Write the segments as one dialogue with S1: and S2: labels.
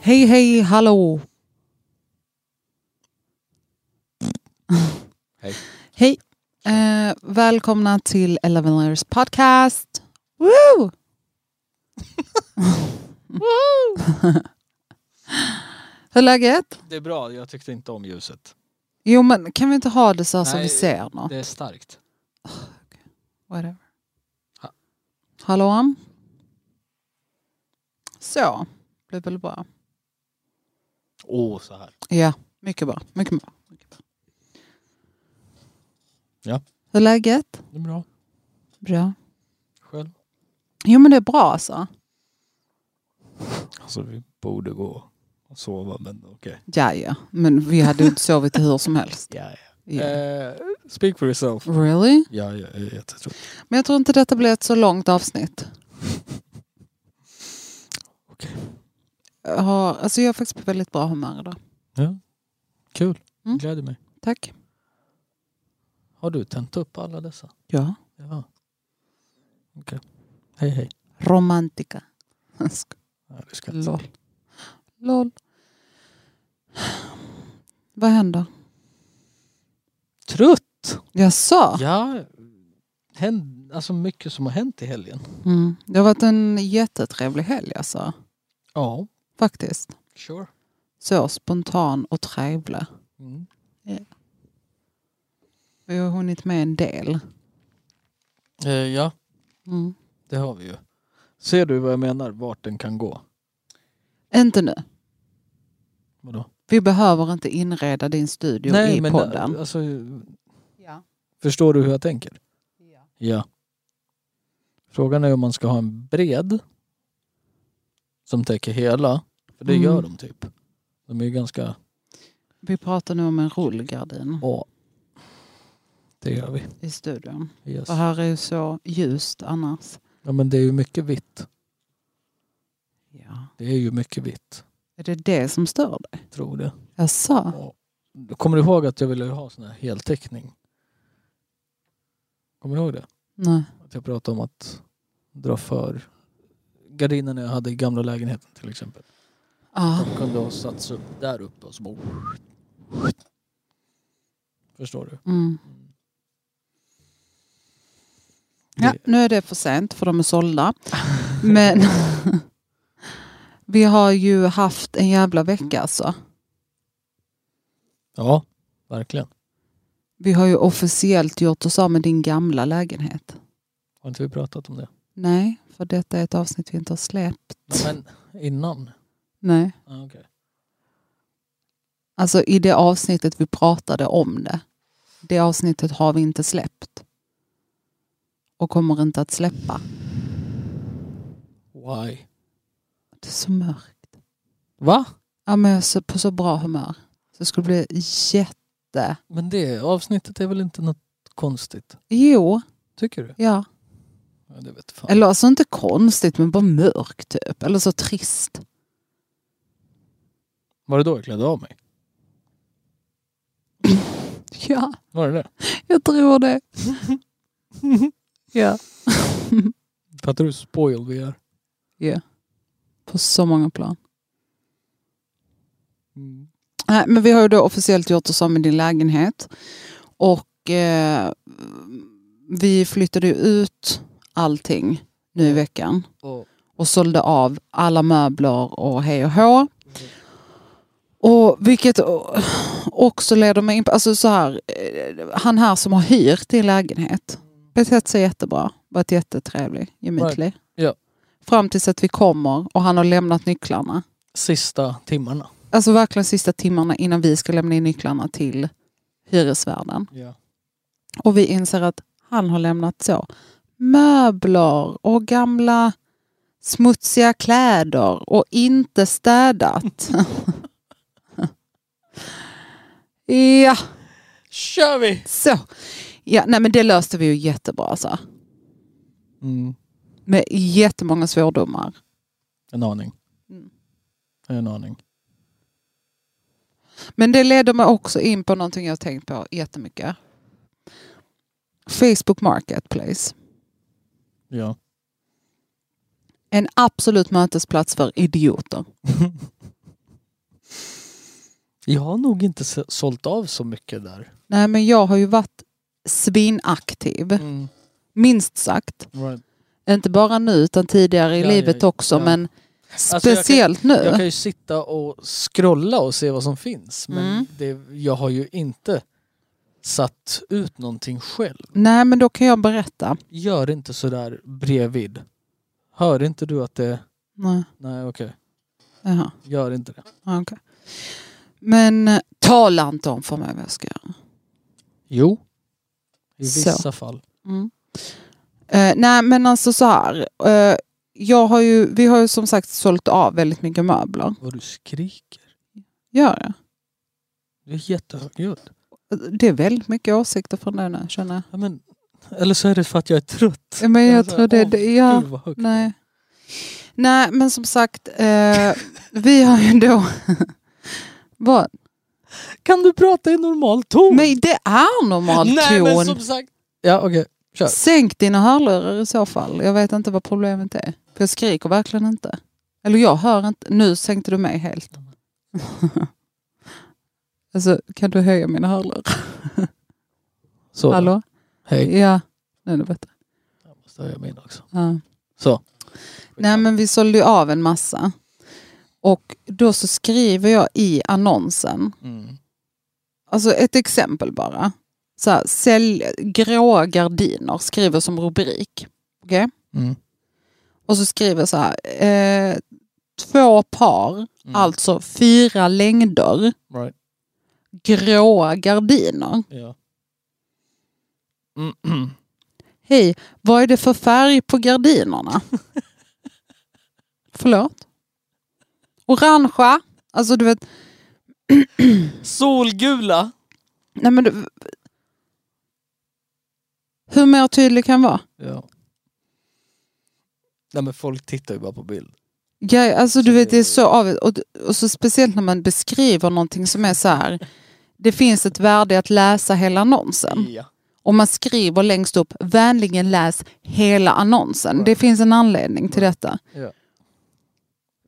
S1: Hej, hej, hallå.
S2: Hej.
S1: hej. Eh, välkomna till Eleven Letters podcast. Woo! Hur är läget?
S2: Det är bra, jag tyckte inte om ljuset.
S1: Jo, men kan vi inte ha det så här så
S2: Nej,
S1: vi ser något?
S2: Det är starkt.
S1: Whatever.
S2: Ha-
S1: Hallå? Så, blev väl bra.
S2: Åh, oh, så här.
S1: Ja, mycket bra. Mycket bra. Mycket bra.
S2: Ja.
S1: Hur är läget?
S2: Det är bra.
S1: Bra.
S2: Själv?
S1: Jo men det är bra alltså.
S2: Alltså vi borde gå och sova men okej.
S1: Ja ja, men vi hade ju inte sovit hur som helst.
S2: Ja, Eh,
S1: Ja.
S2: speak for yourself.
S1: Really?
S2: Ja, jag är jättetråkig.
S1: Men jag tror inte detta blir ett så långt avsnitt.
S2: Okej.
S1: Jag, har, alltså jag är faktiskt på väldigt bra humör idag.
S2: Ja. Kul.
S1: Mm.
S2: Gläder mig.
S1: Tack.
S2: Har du tänt upp alla dessa?
S1: Ja.
S2: Ja. Okej. Hej hej.
S1: Romantika.
S2: Ja, det ska jag inte
S1: Lol. Lol. Vad händer?
S2: säga. Trött!
S1: Jaså?
S2: Ja. Händ, alltså mycket som har hänt i helgen.
S1: Mm. Det har varit en jättetrevlig helg alltså.
S2: Ja.
S1: Faktiskt.
S2: Sure.
S1: Så spontan och trevlig.
S2: Mm.
S1: Vi har hunnit med en del.
S2: Eh, ja,
S1: Mm.
S2: det har vi ju. Ser du vad jag menar? Vart den kan gå?
S1: Inte nu.
S2: Vadå?
S1: Vi behöver inte inreda din studio i podden.
S2: Alltså,
S1: Ja.
S2: förstår du hur jag tänker?
S1: Ja.
S2: Ja. Frågan är om man ska ha en bred som täcker hela. För det
S1: Mm.
S2: gör de typ. De är ju ganska...
S1: Vi pratar nu om en rullgardin
S2: Ja. Det gör vi.
S1: i studion.
S2: Yes.
S1: För här är ju så ljust annars.
S2: Ja, men det är ju mycket vitt.
S1: Ja.
S2: Det är ju mycket vitt.
S1: Är det det som stör dig?
S2: Tror det.
S1: Jaså?
S2: Ja. Kommer du ihåg att jag ville ha sån här heltäckning? Kommer du ihåg det?
S1: Nej.
S2: Att jag pratade om att dra för gardinerna jag hade i gamla lägenheten till exempel.
S1: Ah.
S2: De kunde ha satts upp där uppe och så bara... Förstår du?
S1: Mm. Ja, nu är det för sent för de är sålda. Men vi har ju haft en jävla vecka alltså.
S2: Ja, verkligen.
S1: Vi har ju officiellt gjort oss av med din gamla lägenhet.
S2: Har inte vi pratat om det?
S1: Nej, för detta är ett avsnitt vi inte har släppt.
S2: Men, men innan?
S1: Nej.
S2: Ah, okej.
S1: Alltså i det avsnittet vi pratade om det. Det avsnittet har vi inte släppt. Och kommer inte att släppa.
S2: Why?
S1: Det är så mörkt.
S2: Va?
S1: Ja, men jag är så- på så bra humör. Så det skulle bli jätte...
S2: Men det avsnittet är väl inte något konstigt?
S1: Jo,
S2: Tycker du?
S1: ja.
S2: Ja, det vet fan.
S1: Eller alltså inte konstigt men bara mörkt typ. Eller så trist.
S2: Var det då jag klädde av mig?
S1: Ja,
S2: Var det det?
S1: jag tror det. ja.
S2: Fattar du hur spoiled vi är?
S1: På så många plan.
S2: Mm.
S1: Nej, men vi har ju då officiellt gjort oss av med din lägenhet. Och eh, vi flyttade ju ut allting nu i veckan.
S2: Och,
S1: Och sålde av alla möbler och hej och hå. Och vilket o- också leder mig in på, alltså så här, eh, han här som har hyrt din lägenhet betett sig jättebra, varit jättetrevlig, gemytlig.
S2: Ja.
S1: Fram tills att vi kommer och han har lämnat nycklarna.
S2: Sista timmarna.
S1: Alltså verkligen sista timmarna innan vi ska lämna in nycklarna till hyresvärden.
S2: Ja.
S1: Och vi inser att han har lämnat så möbler och gamla smutsiga kläder och inte städat. ja,
S2: Kör vi!
S1: så. Ja, nej men det löste vi ju jättebra alltså.
S2: Mm.
S1: Med jättemånga svordomar.
S2: En aning.
S1: Mm.
S2: En aning.
S1: Men det leder mig också in på någonting jag har tänkt på jättemycket. Facebook Marketplace.
S2: Ja.
S1: En absolut mötesplats för idioter.
S2: Jag har nog inte så- sålt av så mycket där.
S1: Nej men jag har ju varit svinaktiv.
S2: Mm.
S1: Minst sagt.
S2: Right.
S1: Inte bara nu utan tidigare i
S2: Ja,
S1: livet
S2: ja,
S1: också
S2: ja. Alltså,
S1: men
S2: jag kan-
S1: speciellt nu.
S2: Jag kan ju sitta och scrolla och se vad som finns men
S1: Mm.
S2: det, jag har ju inte satt ut någonting själv.
S1: Nej men då kan jag berätta.
S2: Gör inte sådär bredvid. Hör inte du att det...
S1: Nej.
S2: Nej okej,
S1: Jaha.
S2: gör inte det.
S1: Ja, okej. Men eh, tala inte om för mig vad jag ska göra.
S2: Jo, i
S1: Så.
S2: vissa fall.
S1: Eh, nej men alltså så här. Eh, jag har ju, vi har ju som sagt sålt av väldigt mycket möbler.
S2: Vad du skriker.
S1: Gör jag?
S2: Du är jättehögljudd.
S1: Det är väldigt mycket åsikter från det nu känner jag.
S2: Ja, men, eller så är det för att jag är trött.
S1: Ja, Men
S2: Jag
S1: jag,
S2: är så här,
S1: tror det,
S2: Alltså, åh,
S1: det ja,
S2: Gud vad högt.
S1: nej. nej men som sagt, eh, vi har ju då... Vad?
S2: Kan du prata i normal ton?
S1: Men det är normal
S2: Oh. Nej men
S1: ton.
S2: som sagt. Ja okej, kör.
S1: Sänk dina hörlurar i så fall. Jag vet inte vad problemet är. För jag skriker verkligen inte. Eller jag hör inte. Nu sänkte du mig helt. alltså, kan du höja mina hörlurar?
S2: Så,
S1: Hallå?
S2: Hej.
S1: Ja, nu är det bättre.
S2: Jag måste höja min också.
S1: Ja.
S2: Så.
S1: Nej men vi sålde ju av en massa. Och då så skriver jag i annonsen,
S2: Mm.
S1: alltså ett exempel bara. Så här, sälj gråa gardiner, skriver som rubrik. Okej?
S2: Mm.
S1: Och så skriver jag så här, eh, två par,
S2: Mm.
S1: alltså fyra längder,
S2: Right.
S1: gråa gardiner.
S2: Ja. Mm.
S1: Hej, vad är det för färg på gardinerna? Förlåt? Orangea, alltså du vet,
S2: Solgula.
S1: Nej men du... Hur mer tydlig kan jag vara?
S2: Ja. Nej men folk tittar ju bara på bild.
S1: Ja, alltså
S2: Så
S1: du vet
S2: det-
S1: det är så av och, och så speciellt när man beskriver någonting som är så här. Det finns ett värde i att läsa hela annonsen.
S2: Ja.
S1: Om man skriver längst upp, vänligen läs hela annonsen. Det finns en anledning till detta.
S2: Ja.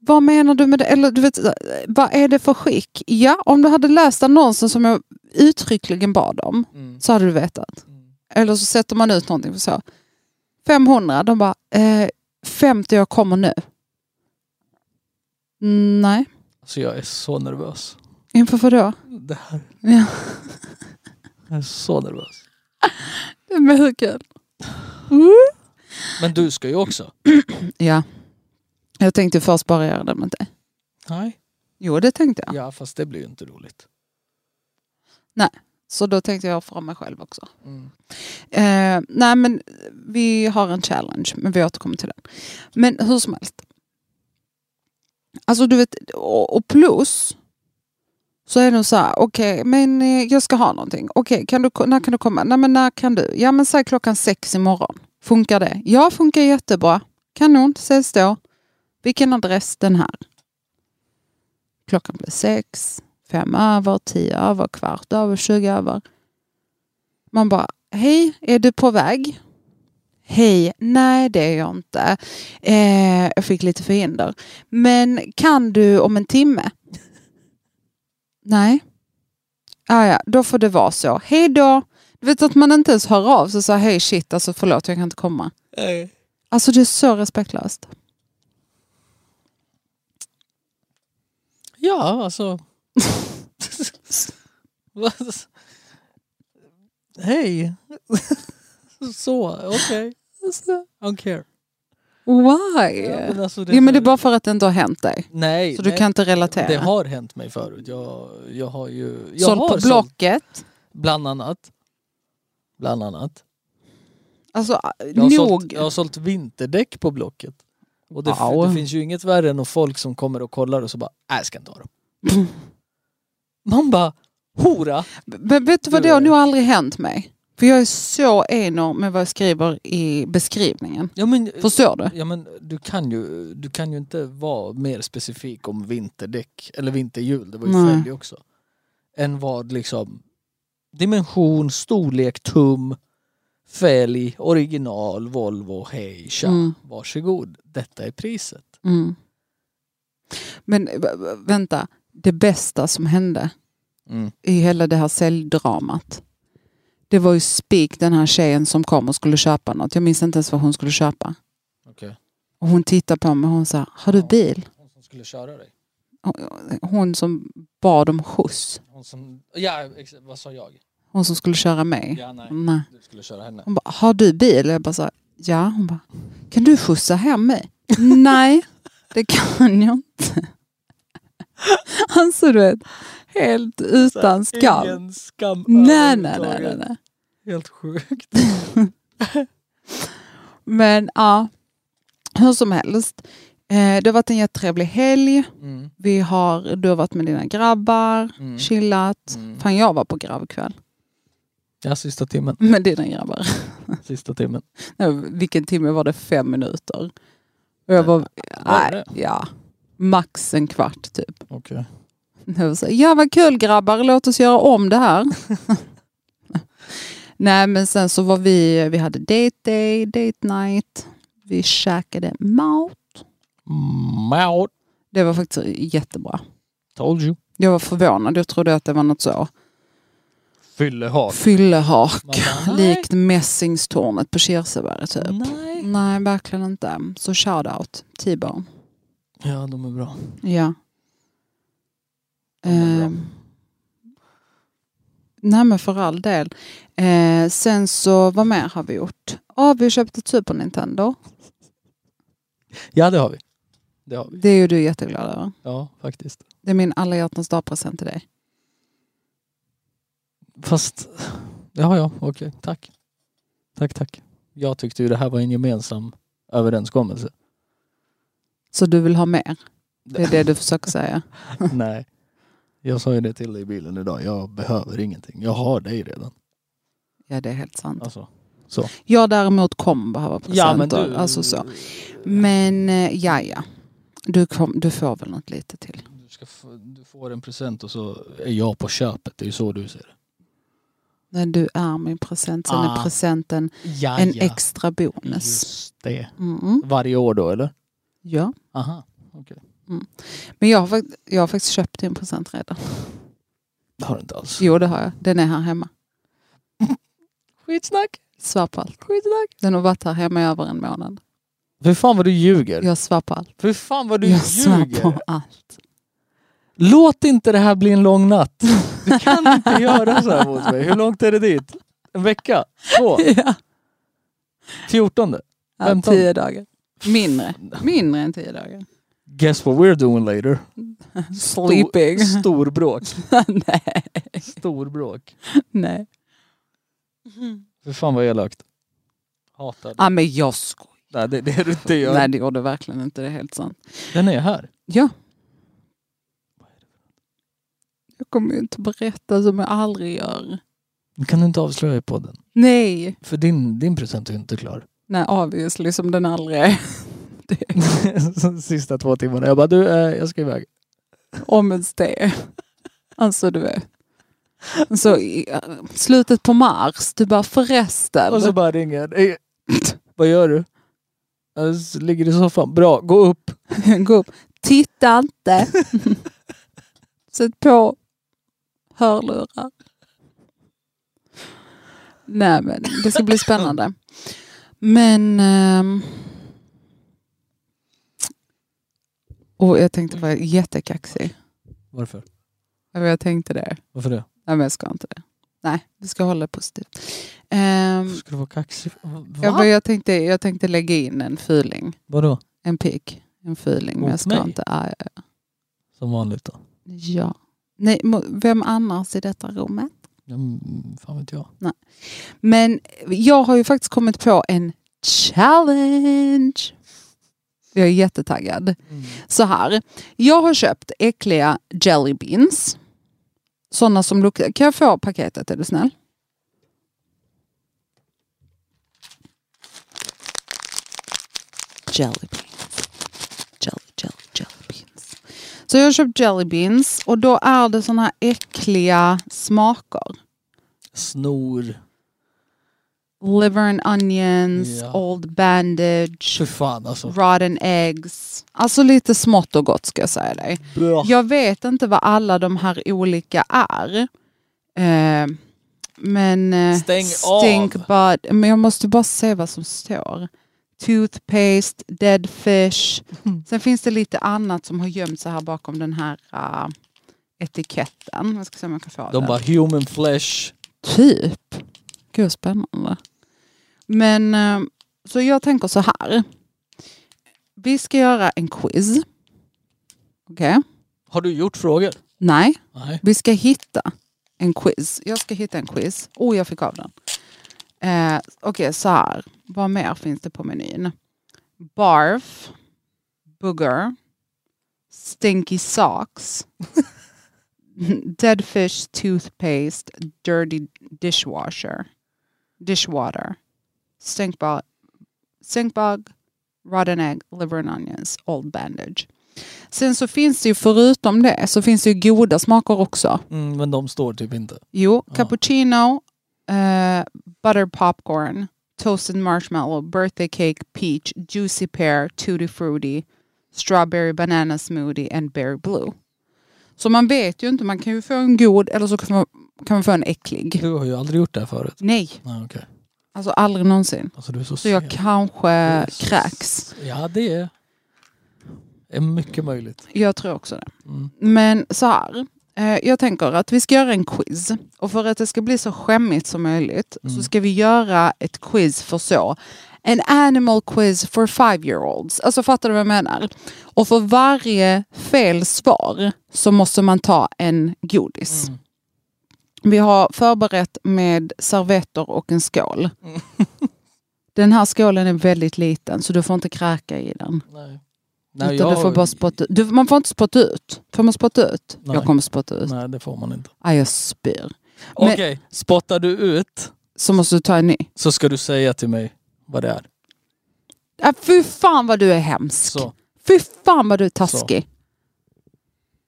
S1: Vad menar du med det? Eller du vet, vad är det för skick? Ja, om du hade läst annonsen som jag uttryckligen bad om
S2: Mm.
S1: så hade du vetat.
S2: Mm.
S1: Eller så sätter man ut någonting för så. 500, de bara eh, 50 jag kommer nu. Mm, Nej,
S2: Alltså jag är så nervös.
S1: inför vadå?
S2: Det här.
S1: Ja.
S2: Jag är så nervös.
S1: Men hur kul?
S2: Men du ska ju också.
S1: Ja. Jag tänkte först bara göra det men inte.
S2: Nej.
S1: Jo det tänkte jag.
S2: Ja fast det blir ju inte roligt.
S1: Så då tänkte jag från mig själv också.
S2: Mm.
S1: Eh, nej men vi har en challenge men vi återkommer till den. Men hur som helst. Alltså du vet, och, och plus så är det så här, okej men eh, jag ska ha någonting. Okej, kan du, ko- när kan du komma? Nej men när kan du? Ja men säg klockan sex imorgon. Funkar det? Ja, funkar jättebra. Kanon, ses då. Vilken adress? Den här. Klockan blir sex, fem över, tio över, kvart över, tjugo över. Man bara, hej, är du på väg? Hej, nej det är jag inte. Eh, jag fick lite förhinder. Men kan du om en timme? nej. Ah, ja, då får det vara så. Hej då! Du vet att man inte ens hör av sig och säger hej shit, alltså förlåt jag kan inte komma.
S2: Nej.
S1: Alltså det är så respektlöst.
S2: Ja alltså. Vad? Hej. så okej. I don't care.
S1: Alltså, Why?
S2: Ja, men alltså,
S1: Jo men det är bara för att det inte har hänt dig.
S2: Nej,
S1: Så du
S2: nej.
S1: kan inte relatera.
S2: det har hänt mig förut. Jag, jag har ju... Jag
S1: sålt
S2: har
S1: på Blocket.
S2: bland annat. Bland annat.
S1: Alltså
S2: Jag har,
S1: nog.
S2: sålt, jag har sålt vinterdäck på Blocket. Och det,
S1: Wow.
S2: det finns ju inget värre än att folk som kommer och kollar och så bara nej jag ska inte ha dem. Man bara hora!
S1: Men vet du vad, det har nog aldrig hänt mig. För jag är så enorm med vad jag skriver i beskrivningen.
S2: Ja men,
S1: Förstår du?
S2: ja, men du, kan ju, du kan ju inte vara mer specifik om vinterdäck eller vinterhjul, det var ju
S1: Nej.
S2: fälg också. Än vad liksom dimension, storlek, tum, fälg, original, Volvo, hej, tja,
S1: Mm.
S2: varsågod. Detta är priset.
S1: Mm. Men v- v- vänta, det bästa som hände
S2: Mm.
S1: i hela det här säljdramat. Det var ju spik den här tjejen som kom och skulle köpa något. Jag minns inte ens vad hon skulle köpa.
S2: Okej.
S1: Och hon tittar på mig och hon sa, har du
S2: Ja.
S1: bil?
S2: Hon som skulle köra dig.
S1: Hon som bad om skjuts.
S2: Hon som... Ja, ex- vad sa jag?
S1: Hon som skulle köra mig.
S2: Ja, nej.
S1: Nej.
S2: Du skulle köra henne.
S1: Hon bara, har du bil? Jag bara, så här, ja. Hon bara, kan du skjutsa hem mig? Nej, det kan jag inte. Alltså du vet, helt utan skam.
S2: Ingen skam
S1: Nej, nej, nej, nej,
S2: överhuvudtaget.
S1: nej.
S2: Helt sjukt.
S1: Men ja, hur som helst. Eh, Det har varit en jättetrevlig helg.
S2: Mm.
S1: Vi har, du har varit med dina grabbar,
S2: Mm.
S1: chillat.
S2: Mm.
S1: Fan, jag var på grabbkväll
S2: Ja, sista timmen.
S1: med dina grabbar.
S2: Sista timmen.
S1: Nej, Vilken timme var det? Fem minuter? Och jag var,
S2: Var det
S1: nej, ja, max en kvart typ.
S2: Okej.
S1: Jag var så, här, ja vad kul grabbar, låt oss göra om det här. Nej men sen så var vi, vi hade date day, date night. Vi käkade mat.
S2: Maut.
S1: Det var faktiskt jättebra.
S2: Told you.
S1: Jag var förvånad, jag trodde att det var något så
S2: Fyllehak. Man
S1: fyllehak,
S2: bara, nej.
S1: likt mässingstornet på Kirseberga typ.
S2: Nej.
S1: Nej, verkligen inte. Så shoutout, T-bone.
S2: Ja, de är bra.
S1: Ja.
S2: Ja, men bra.
S1: Ehm. Nej men för all del. Eh, sen så, vad mer har vi gjort? Ja, vi köpte ett Super Nintendo.
S2: Ja, det har vi. Det har vi.
S1: Det är ju du jätteglad över.
S2: Ja, faktiskt.
S1: Det är min alla hjärtans dag-present till dig.
S2: Fast... Ja, ja, okej. Tack. Tack, tack. Jag tyckte ju det här var en gemensam överenskommelse.
S1: Så du vill ha mer? Det är det du försöker säga.
S2: Nej. Jag sa ju det till dig i bilen idag. Jag behöver ingenting. Jag har dig redan.
S1: Ja, det är helt sant.
S2: Alltså.
S1: Jag däremot kommer behöva presenter. Alltså så. Men eh, ja, ja. Du, kom, du får väl något lite till.
S2: Du, ska få, du får en present och så är jag på köpet. Det är ju så du ser det.
S1: När du är min present. Sen är
S2: Ah.
S1: presenten
S2: Ja,
S1: en extra bonus.
S2: Just det.
S1: Mm.
S2: Varje år då eller?
S1: Ja.
S2: Aha.
S1: Men jag har, fakt- jag har faktiskt köpt en present redan.
S2: Det har du inte alls.
S1: Jo, det har jag. Den är här hemma.
S2: Skitsnack.
S1: Svär på allt.
S2: Skitsnack.
S1: Den har varit här hemma i över en månad.
S2: Fy fan vad du ljuger.
S1: Jag svär på allt.
S2: Fy fan vad du
S1: jag svär
S2: ljuger.
S1: på allt.
S2: Låt inte det här bli en lång natt. Du kan inte göra så här mot mig. Hur långt är det dit? En vecka? Två?
S1: Ja.
S2: Fjortonde?
S1: Ja,
S2: Femton.
S1: tio dagar. Mindre. Mindre än tio dagar.
S2: Guess what we're doing later? Stor-
S1: Sleeping.
S2: Storbråk.
S1: Nej.
S2: Storbråk.
S1: Nej.
S2: Fy fan vad elakt. Hatar det.
S1: Ah, men jag skojar.
S2: Nej det, det är du inte gör.
S1: Nej, det gjorde verkligen inte. Det är helt sant.
S2: Den är här.
S1: Ja. Jag kommer ju inte berätta som jag aldrig gör.
S2: Den kan du inte avslöja i podden.
S1: Nej.
S2: För din, din present är ju inte klar.
S1: Nej, obviously som den aldrig är.
S2: Sista två timmarna. Jag bara du, eh, jag ska iväg.
S1: Om ens det. Alltså du vet. Så i äh, slutet på mars, du bara förresten.
S2: Och så bara ringer jag. "Hej, Vad gör du? "Jag s- Ligger i soffan. Bra, gå upp.
S1: Gå upp. Titta inte. Sätt på hörlurar. Nej men det ska bli spännande. Men... ehm, och jag tänkte vara jättekaxig.
S2: Varför?
S1: Ja, men Jag tänkte det.
S2: Varför det?
S1: Nej men jag ska inte det. Nej, vi ska hålla det positivt. Ehm,
S2: Ska du vara kaxig? Va?
S1: jag, bara- jag, tänkte, jag tänkte lägga in en fuling.
S2: Vadå?
S1: En pik. En fuling. Men
S2: Mot
S1: jag ska
S2: mig?
S1: inte. ah, Ja, ja,
S2: Som vanligt då?
S1: Ja. Nej, mo- vem annars i detta rummet?
S2: Mm, fan vet jag.
S1: Men jag har ju faktiskt kommit på en challenge. Jag är jättetaggad.
S2: Mm.
S1: Så här, jag har köpt äckliga jelly beans. Sådana som luktar... Kan jag få paketet är du snäll? Jelly beans. Jelly, jelly, jelly beans. Så jag har köpt jelly beans och då är det sådana här äckliga smaker.
S2: Snor.
S1: liver and onions,
S2: Ja.
S1: old bandage,
S2: Fy fan alltså.
S1: rotten eggs. Alltså lite smått och gott ska jag säga dig.
S2: Bra.
S1: Jag vet inte vad alla de här olika är. Eh, men eh,
S2: Stäng
S1: stink
S2: av.
S1: bud. Men jag måste bara se vad som står. Toothpaste, dead fish. Sen finns det lite annat som har gömt sig här bakom den här eh, etiketten. Jag ska se om jag kan få
S2: De
S1: den.
S2: bara human flesh.
S1: Typ. Gud vad spännande. Men eh, så jag tänker så här. Vi ska göra en quiz. Okej?
S2: Har du gjort frågor?
S1: Nej,
S2: Nej.
S1: vi ska hitta en quiz. Jag ska hitta en quiz. Oh, jag fick av den. Eh, Okej, så här. Vad mer finns det på menyn? Barf, booger, stinky socks, dead fish toothpaste, dirty dishwasher, dishwater, stink bug, stink bug, rotten egg, liver and onions, old bandage. Sen så finns det ju förutom det så finns det ju goda smaker också.
S2: Mm, men de står typ inte.
S1: Jo,
S2: Ja.
S1: cappuccino, eh, butter popcorn, toasted marshmallow, birthday cake, peach, juicy pear, tutti frutti, strawberry banana smoothie and berry blue. Så man vet ju inte, man kan ju få en god eller så kan man, kan man få en äcklig.
S2: Du har ju aldrig gjort det här förut.
S1: Nej,
S2: Nej, okej.
S1: alltså aldrig någonsin.
S2: Alltså du är så,
S1: Så jag
S2: sen.
S1: kanske kräks.
S2: Ja, det är, är mycket möjligt.
S1: Jag tror också det.
S2: Mm.
S1: Men så här, eh, jag tänker att vi ska göra en quiz. Och för att det ska bli så skämmigt som möjligt
S2: Mm.
S1: så ska vi göra ett quiz för så. En animal quiz for five year olds. Alltså fattar du vad jag menar? Och för varje fel svar så måste man ta en godis.
S2: Mm.
S1: Vi har förberett med servetter och en skål.
S2: Mm.
S1: Den här skålen är väldigt liten så du får inte kräka i den.
S2: Nej. Nej,
S1: utan du får bara spotta du, Man får inte spotta ut. Får man spotta ut?
S2: Nej.
S1: Jag kommer spotta ut.
S2: Nej, det får man inte.
S1: Aj, jag spyr. Men-
S2: Okej, spottar du ut
S1: Så måste du ta en ny.
S2: så ska du säga till mig vad det är.
S1: Äh, fy fan vad du är hemsk.
S2: Så.
S1: Fy fan vad du är taskig.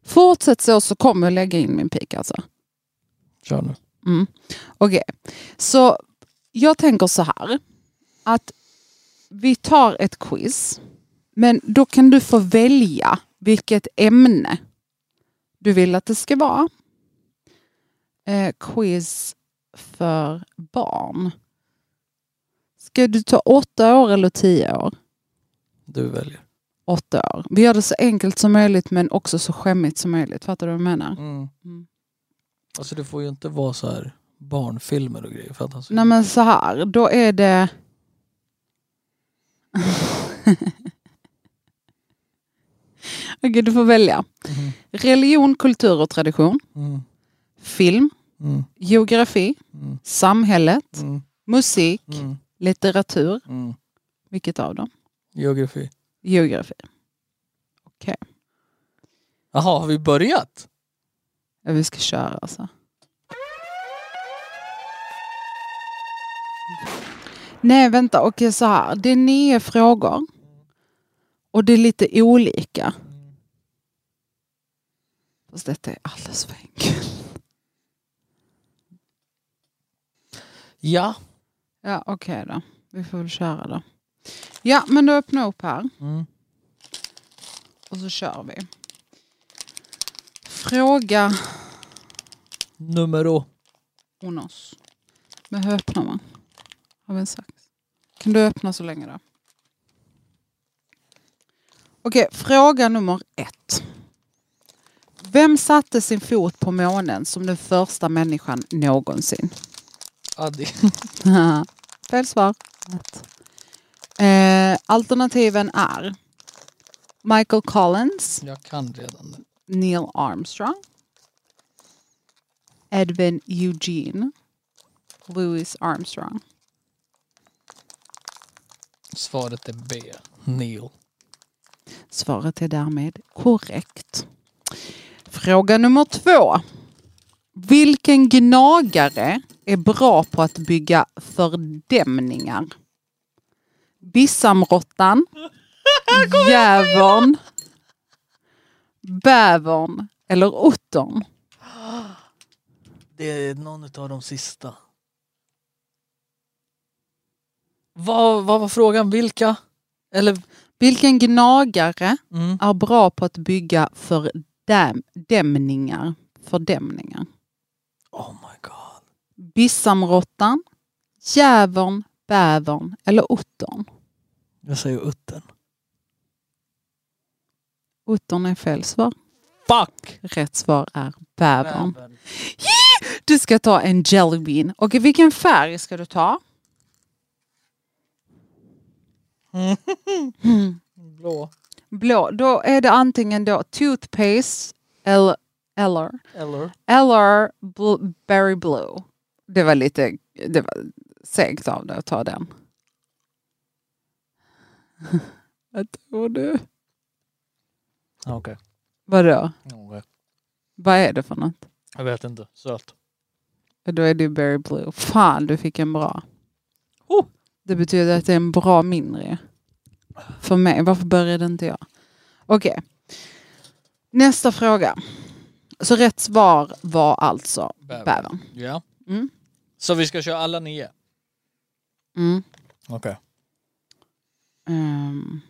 S1: Fortsätt så så kommer jag lägga in min pik alltså.
S2: Kör nu.
S1: Mm. Okej, så jag tänker så här. Att vi tar ett quiz. Men då kan du få välja vilket ämne du vill att det ska vara. Eh, quiz för barn. Ska du ta åtta år eller tio år?
S2: Du väljer.
S1: Åtta år. Vi gör det så enkelt som möjligt men också så skämmigt som möjligt. Fattar du vad jag menar?
S2: Mm.
S1: Mm.
S2: Alltså det får ju inte vara så här barnfilmer och grejer. För att alltså,
S1: Nej men så här, då är det... Okej, du får välja.
S2: Mhm.
S1: Religion, kultur och tradition.
S2: Mm.
S1: Film,
S2: Mm.
S1: geografi,
S2: Mm.
S1: samhället,
S2: Mm.
S1: musik,
S2: Mm.
S1: litteratur.
S2: Mm.
S1: Vilket av dem?
S2: Geografi.
S1: Geografi.
S2: Jaha, har vi börjat?
S1: Ja, vi ska köra alltså. Nej, vänta. Okej, så här. Det är nio frågor. Och det är lite olika. Fast detta är alldeles för enkelt.
S2: Ja.
S1: Ja, okej då. Vi får väl köra då. Ja, men då öppnar jag upp här.
S2: Mm.
S1: Och så kör vi. Fråga
S2: Numero.
S1: Onos. Men hur öppnar man? Har vi en sax? Kan du öppna så länge då? Okej, fråga nummer ett. Vem satte sin fot på månen som den första människan någonsin?
S2: Addi.
S1: Fel svar. Eh, alternativen är Michael Collins,
S2: Jag kan redan det.
S1: Neil Armstrong, Edwin Eugene, Louis Armstrong.
S2: Svaret är B. Neil.
S1: Svaret är därmed korrekt. Fråga nummer två. Vilken gnagare är bra på att bygga fördämningar? Bissamråttan, djävuln, bävern eller ottern?
S2: Det är någon av de sista. Vad, vad var frågan? Vilka? Eller?
S1: Vilken gnagare
S2: Mm.
S1: är bra på att bygga för däm, dämningar? Fördämningar.
S2: Oh my god.
S1: Bissamråttan, djävuln, bävern eller ottern?
S2: Jag säger utten.
S1: Ottern är fel svar.
S2: Fuck!
S1: Rätt svar är bävern. Du ska ta en jellybean. Och vilken färg ska du ta? Mm.
S2: Blå.
S1: Blå. Då är det antingen då toothpaste eller, eller,
S2: Eller?
S1: eller bl- berry blue. Det var lite det var segt av dig att ta den. Vad tror du?
S2: Ah, Okej.
S1: Vadå?
S2: Okej.
S1: Vad är det för något?
S2: Jag vet inte. Söt.
S1: Då är det ju berry blue. Fan, du fick en bra.
S2: Oh!
S1: Det betyder att det är en bra mindre. För mig. Varför började inte jag? Okej. Nästa fråga. Så rätt svar var alltså
S2: Bävern.
S1: bävern.
S2: Ja.
S1: Mm.
S2: Så vi ska köra alla nio?
S1: Mm.
S2: Okej.
S1: Ehm,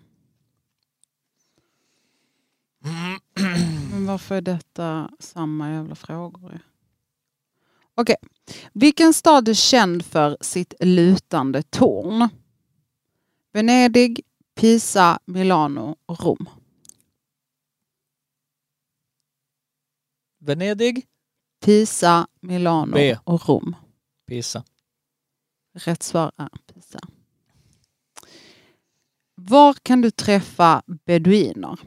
S1: men varför är detta samma jävla frågor? Okej. Vilken stad är känd för sitt lutande torn? Venedig, Pisa, Milano, Rom.
S2: Venedig?
S1: Pisa, Milano
S2: B.
S1: och Rom.
S2: Pisa.
S1: Rätt svar är Pisa. Var kan du träffa beduiner?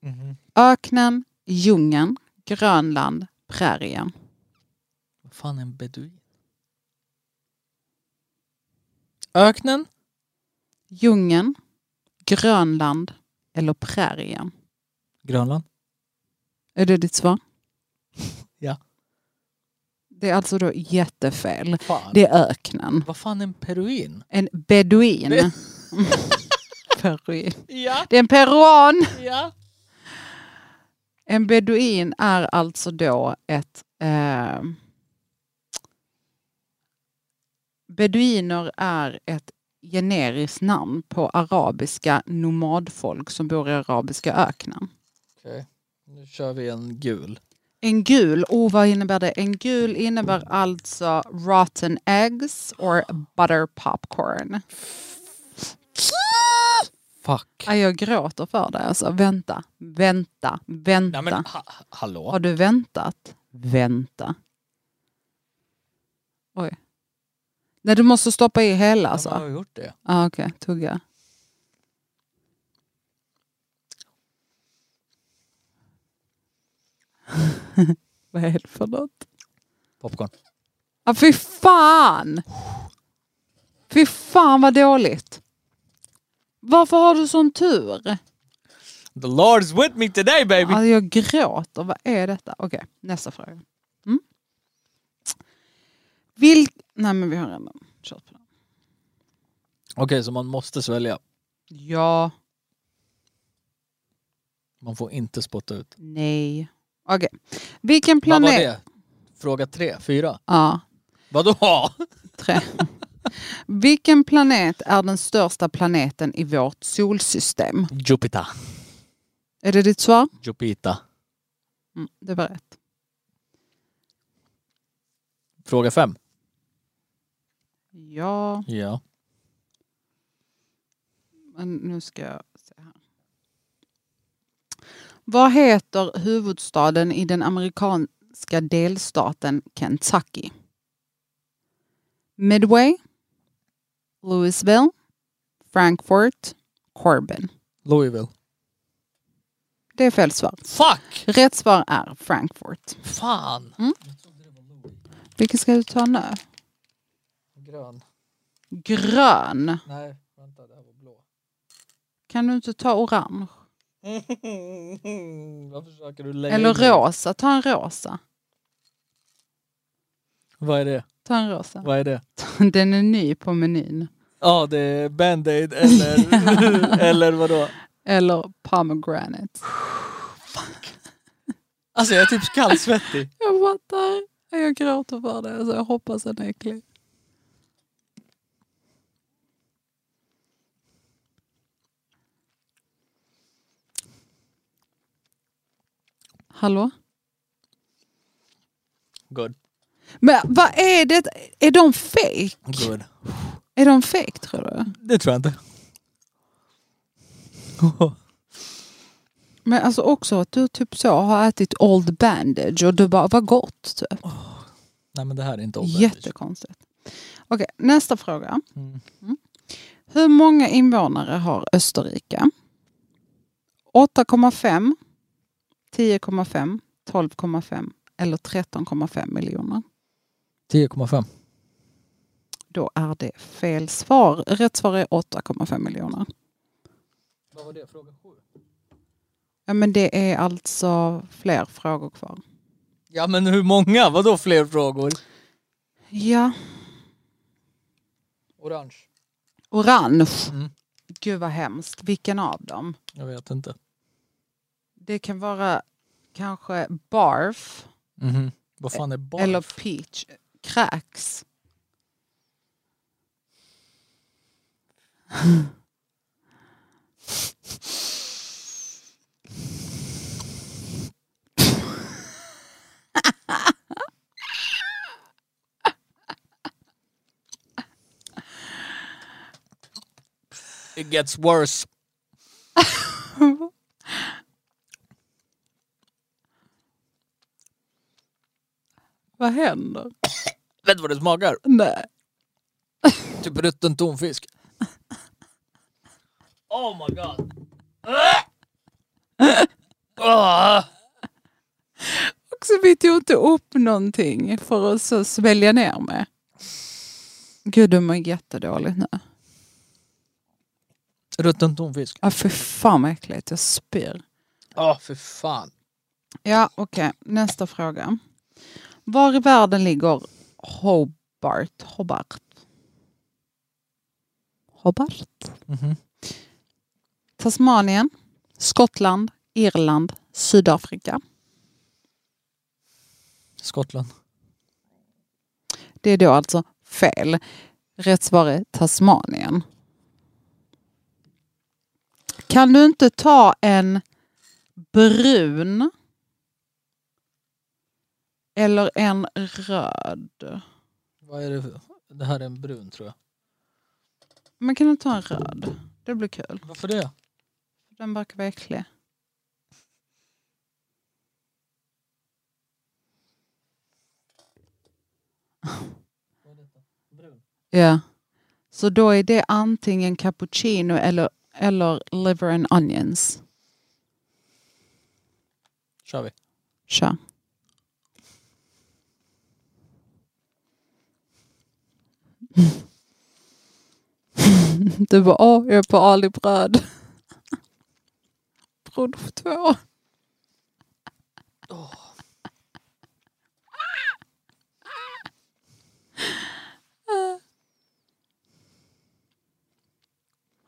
S2: Mm-hmm.
S1: Öknen, djungeln, Grönland, prärien.
S2: Vad fan är en beduin? Öknen?
S1: Djungeln, Grönland eller prärien.
S2: Grönland.
S1: Är det ditt svar?
S2: Ja.
S1: Det är alltså då jättefel.
S2: Fan.
S1: Det är öknen.
S2: Vad fan är en peruin?
S1: En beduin.
S2: Be-
S1: Peruin.
S2: Ja,
S1: Det är en peruan.
S2: ja.
S1: En beduin är alltså då ett... Eh, beduiner är ett generiskt namn på arabiska nomadfolk som bor i arabiska öknen.
S2: Okej, nu kör vi en gul.
S1: En gul, oh vad innebär det? En gul innebär alltså rotten eggs or butter popcorn.
S2: Fuck.
S1: Ah, jag gråter för dig alltså. Vänta, vänta,
S2: Nej
S1: vänta.
S2: men ha hallå?
S1: Har du väntat? Vänta. Oj. Nej, du måste stoppa i hela alltså.
S2: Ja, men
S1: Ja,
S2: har jag gjort det?
S1: ah, okej. Tugga. Vad är det för något?
S2: Popcorn.
S1: Ah, fy fan! Fy fan vad dåligt. Varför har du sån tur?
S2: The Lord's with me today baby!
S1: Alltså jag gråter, vad är detta? Okej, nästa fråga. Mm. Vil- Nej men vi har redan kört på den.
S2: Okej, så man måste svälja.
S1: Ja,
S2: Man får inte spotta ut.
S1: nej. Okej. Vilken
S2: Vad var
S1: planet...
S2: det? Fråga tre, fyra.
S1: Ja,
S2: Vadå?
S1: tre. Vilken planet är den största planeten i vårt solsystem?
S2: Jupiter.
S1: Är det ditt svar?
S2: Jupiter.
S1: Mm, det var rätt.
S2: Fråga fem.
S1: Ja,
S2: Ja.
S1: men nu ska jag se här. Vad heter huvudstaden i den amerikanska delstaten Kentucky? Midway, Louisville, Frankfurt, Corbin.
S2: Louisville.
S1: Det är fel svar.
S2: Fuck!
S1: Rätt svar är Frankfurt.
S2: Fan!
S1: Vilken ska du ta nu?
S2: Grön.
S1: Grön.
S2: Nej, vänta, det här var blå.
S1: Kan du inte ta orange?
S2: Vad försöker du lägga
S1: Eller
S2: in i?
S1: rosa. Ta en rosa.
S2: Vad är det?
S1: Ta en rosa.
S2: Vad är det?
S1: Den är ny på menyn.
S2: Ja, det är Band-Aid eller, eller vadå?
S1: Eller pomegranate.
S2: Alltså jag är typ kallsvettig.
S1: Jag fattar. Jag gråter för det. Alltså, jag hoppas den är äcklig. Hallå?
S2: Good.
S1: Men vad är det? Är de fake?
S2: Good.
S1: Är de fake tror du?
S2: Det tror jag inte.
S1: Men alltså också att du typ så har ätit old bandage och du bara, vad gott. Typ.
S2: Nej men det här är inte omvänt.
S1: Jättekonstigt. Okej, nästa fråga.
S2: Mm.
S1: Hur många invånare har Österrike? 8,5, 10,5, 12,5 eller 13,5 miljoner.
S2: 10,5.
S1: Då är det fel svar. Rätt svar är 8,5 miljoner.
S2: Vad var det? Fråga 7?
S1: Ja, men det är alltså fler frågor kvar.
S2: Ja men hur många? Vadå fler frågor?
S1: Ja,
S2: Orange.
S1: orange.
S2: Mm.
S1: Gud vad hemskt. Vilken av dem?
S2: Jag vet inte.
S1: Det kan vara kanske barf,
S2: Mhm. Vad fan är barn?
S1: eller peach. Kräks.
S2: It gets worse.
S1: Vad händer?
S2: Vet du vad det smakar?
S1: Nej.
S2: Typ rutten tonfisk. Oh my god. Ah!
S1: Också, vi tog inte upp någonting för att så svälja ner med. Gud, du mår jättedåligt nu.
S2: Rutten tonfisk.
S1: Ja, för fan vad äckligt. Jag spyr.
S2: Ja, för fan.
S1: Ja, okej. Nästa fråga. Var i världen ligger Hobart? Hobart? Hobart? Tasmanien, Skottland, Irland, Sydafrika.
S2: Skottland.
S1: Det är då alltså fel. Rätt svar är Tasmanien. Kan du inte ta en brun eller en röd?
S2: Vad är det för? Det här är en brun tror jag.
S1: Man kan du ta en röd? Det blir kul.
S2: Varför det?
S1: Den verkar vara äcklig.
S2: Brun.
S1: Ja. Så då är det antingen cappuccino eller, eller liver and onions.
S2: kör vi.
S1: Kör. Du bara, åh, jag är på Ali bröd. Produkt två.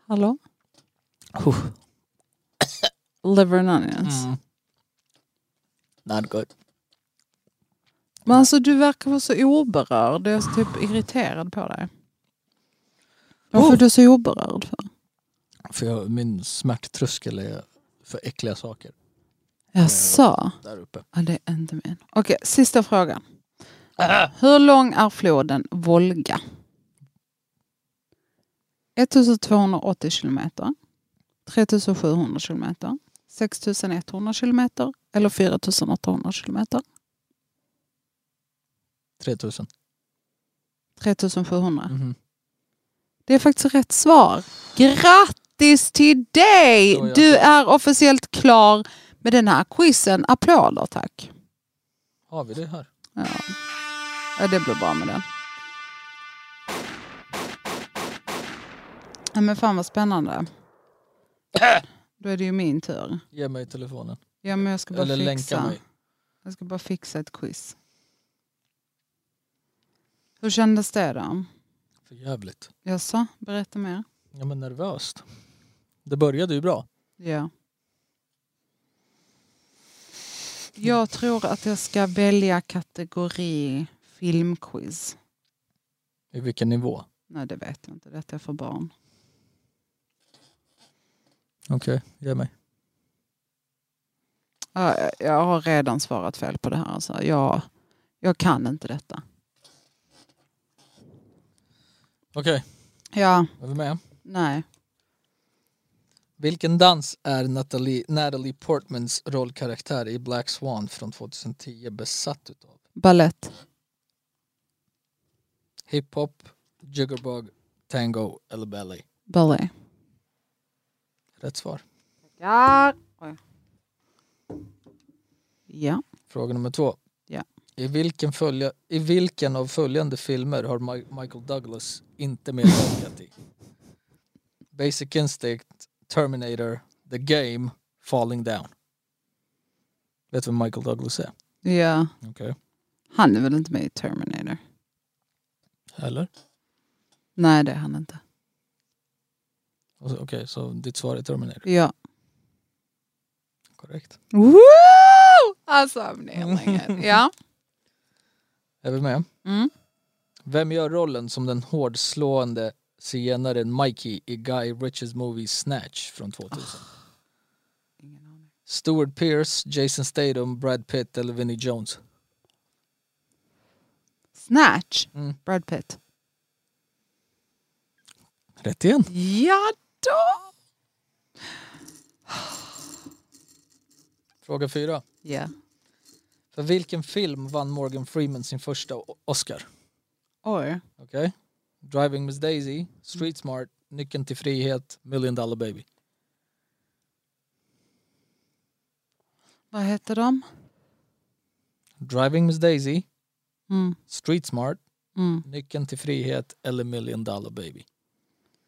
S1: Hallå? Liver and onions.
S2: Mm. Not good.
S1: Men alltså du verkar vara så oberörd. Jag är så typ irriterad på dig. Varför
S2: Oh.
S1: är du så oberörd? För?
S2: För jag, min smärttröskel är för äckliga saker
S1: Jaså?
S2: där uppe.
S1: Ja, det är inte min. Okej, sista frågan. Hur lång är floden Volga? 1280 kilometer, 3700 kilometer, 6100 kilometer eller 4800 kilometer?
S2: 3000.
S1: 3700.
S2: Mhm.
S1: Det är faktiskt rätt svar. Grattis till dig!
S2: Då är jag
S1: Du
S2: klar.
S1: är officiellt klar med den här quizen. Applåder tack.
S2: Har vi det här?
S1: Ja. ja, det blir bra med den. Ja, men fan vad spännande. Då är det ju min tur.
S2: Ge mig telefonen.
S1: Ja, men jag ska bara
S2: Eller länka
S1: fixa.
S2: mig.
S1: Jag ska bara fixa ett quiz. Hur kändes det då?
S2: För jävligt.
S1: Jaså, berätta mer.
S2: Ja men nervöst. Det började ju bra.
S1: Ja. Jag tror att jag ska välja kategori filmquiz.
S2: I vilken nivå?
S1: Nej, det vet jag inte. Detta är för barn.
S2: Okej, ge mig.
S1: Ja, jag- jag har redan svarat fel på det här. Alltså. Jag, jag kan inte detta.
S2: Okej,
S1: Ja,
S2: är vi med?
S1: nej.
S2: Vilken dans är Natalie, Natalie Portmans rollkaraktär i Black Swan från 2010 besatt utav?
S1: Ballett.
S2: Hiphop, jiggerbug, tango eller ballet?
S1: Ballet.
S2: Rätt svar.
S1: Ja. Ja.
S2: Fråga nummer två.
S1: Ja.
S2: I, vilken följa, I vilken av följande filmer har Mi- Michael Douglas inte medverkat i? Basic Instinct, Terminator, The Game, Falling Down. Vet du vem Michael Douglas är?
S1: ja.
S2: Okej.
S1: Han är väl inte med i Terminator?
S2: Eller?
S1: Nej, det är han inte.
S2: Och så- Okej, så ditt svar är Terminator.
S1: Ja.
S2: Korrekt.
S1: Woo! Alltså, I'm nailing it. Ja.
S2: Är vi med?
S1: Mm.
S2: Vem gör rollen som den hårdslående zigenaren Mikey i Guy Ritchies movie Snatch från 2000?
S1: Ingen aning.
S2: Stuart Pearce, Jason Statham, Brad Pitt eller Vinnie Jones?
S1: Snatch.
S2: Mm.
S1: Brad Pitt.
S2: Rätt igen.
S1: Ja då!
S2: Fråga fyra.
S1: Ja.
S2: För vilken film vann Morgan Freeman sin första O- Oscar?
S1: Oj.
S2: Okej. Driving Miss Daisy, Street Smart, Nyckeln till frihet, Million Dollar Baby.
S1: Vad heter de?
S2: Driving Miss Daisy,
S1: Mm.
S2: Street Smart,
S1: Mm.
S2: Nyckeln till frihet eller Million Dollar Baby.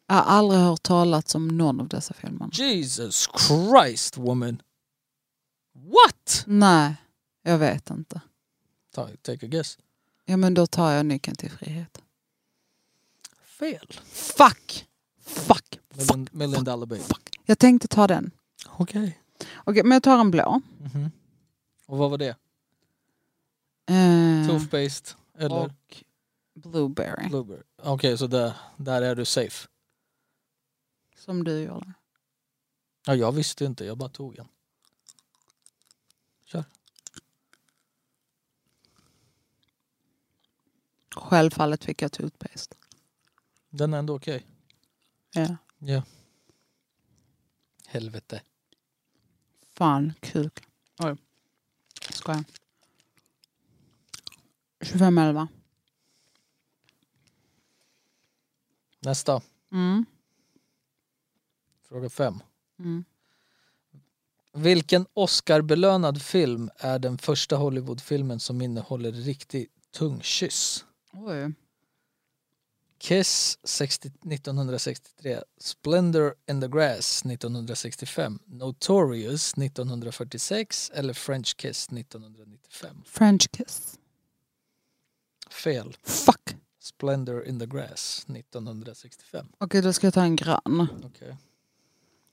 S1: Jag har aldrig hört talas om någon av dessa filmer.
S2: Jesus Christ woman! What?
S1: Nej, jag vet inte.
S2: Ta- Take a guess.
S1: Ja, men då tar jag nyckeln till frihet.
S2: Fel.
S1: Fuck! Fuck! Fuck!
S2: Million, million Dollar Baby.
S1: Fuck! Jag tänkte ta den.
S2: Okej.
S1: Okej, men jag tar en blå.
S2: Mhm. Och vad var det? Mm.
S1: Eh,
S2: Toothpaste eller
S1: och blueberry.
S2: blueberry? Okej, så där, där är du safe.
S1: Som du gjorde.
S2: Ja, jag visste inte, jag bara tog en.
S1: Självfallet fick jag toothpaste.
S2: Den är ändå okej.
S1: Ja.
S2: Ja. Helvete.
S1: Fan, kuk. Oj. Skojar. 25 11.
S2: Nästa,
S1: Mm.
S2: fråga fem.
S1: Mm.
S2: Vilken Oscar-belönad film är den första Hollywoodfilmen som innehåller riktig tungkyss?
S1: Oj.
S2: Kiss 60, 1963, Splendor in the Grass 1965, Notorious 1946 eller French Kiss 1995?
S1: French kiss.
S2: Fel.
S1: Fuck! Okej,
S2: Splendor in the Grass 1965.
S1: då ska jag ta en grön.
S2: Okej.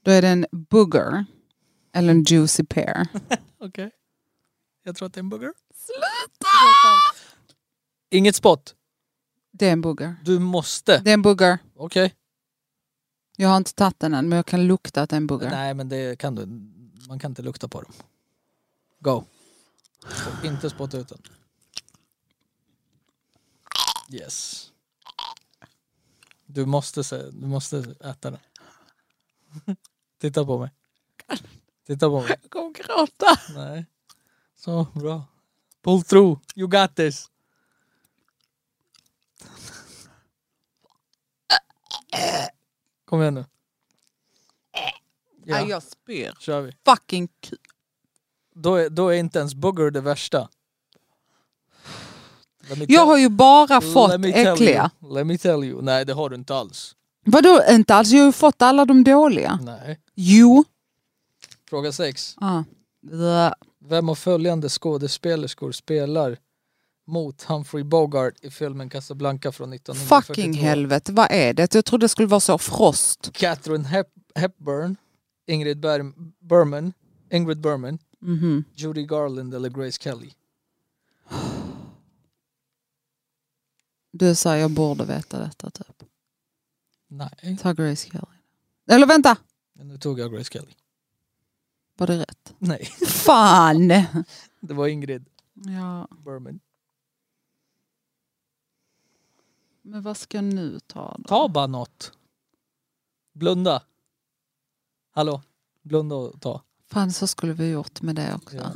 S1: Då är det en booger. Eller en juicy pear.
S2: Okej. Jag tror att det är en bugger.
S1: Sluta!
S2: Inget spott.
S1: Det är en booger.
S2: Du måste.
S1: Det är en booger.
S2: Okej.
S1: Jag har inte tagit den än men jag kan lukta att det är en booger.
S2: Nej, men det kan du. Man kan inte lukta på dem. Go. Och inte spotta ut den. Yes. Du måste, se, du måste äta den. Titta på mig. Titta på mig.
S1: Jag kommer gråta.
S2: Nej. Så, bra. Pull through. You got this. Kom igen nu. Ja,
S1: jag spyr.
S2: kör vi.
S1: Fucking kul.
S2: Då är, då är inte ens booger det värsta. Let me
S1: Jag
S2: tell-
S1: har ju bara fått
S2: let me tell
S1: äckliga.
S2: You. Let me tell you. Nej, det har du inte alls.
S1: Vadå inte alls? Jag har ju fått alla de dåliga.
S2: Nej.
S1: Jo.
S2: Fråga sex.
S1: Ah. Blä.
S2: Vem av följande skådespelerskor spelar mot Humphrey Bogart i filmen Casablanca från 1942?
S1: Fucking helvete, vad är det? Jag trodde det skulle vara så frost.
S2: Catherine Hep- Hepburn, Ingrid Ber- Berman, Ingrid Berman,
S1: Mhm.
S2: Judy Garland eller Grace Kelly.
S1: Du sa jag borde veta detta typ.
S2: Nej,
S1: Ta Grace Kelly. Eller vänta!
S2: nu tog jag Grace Kelly.
S1: Var det rätt?
S2: Nej,
S1: Fan!
S2: det var Ingrid
S1: Ja,
S2: Bergman.
S1: men vad ska jag nu ta då?
S2: Ta bara något. Blunda. Hallå, blunda och ta.
S1: Fan så skulle vi gjort med det också.
S2: Ja.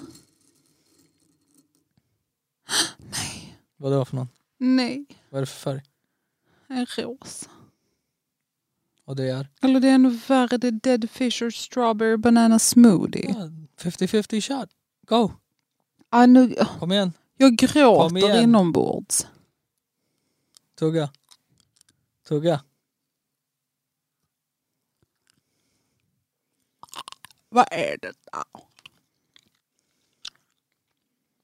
S1: Nej.
S2: Vad det var för någon?
S1: Nej,
S2: Vad är det för färg?
S1: en rosa.
S2: Och det är
S1: Eller det är ännu värre, det är Dead Fisher Strawberry Banana Smoothie.
S2: ja, 50-50 shot. Go!
S1: Ah, nu,
S2: Kom igen,
S1: jag
S2: Kom
S1: gråter
S2: igen.
S1: inombords.
S2: tugga. Tugga.
S1: Vad är det där?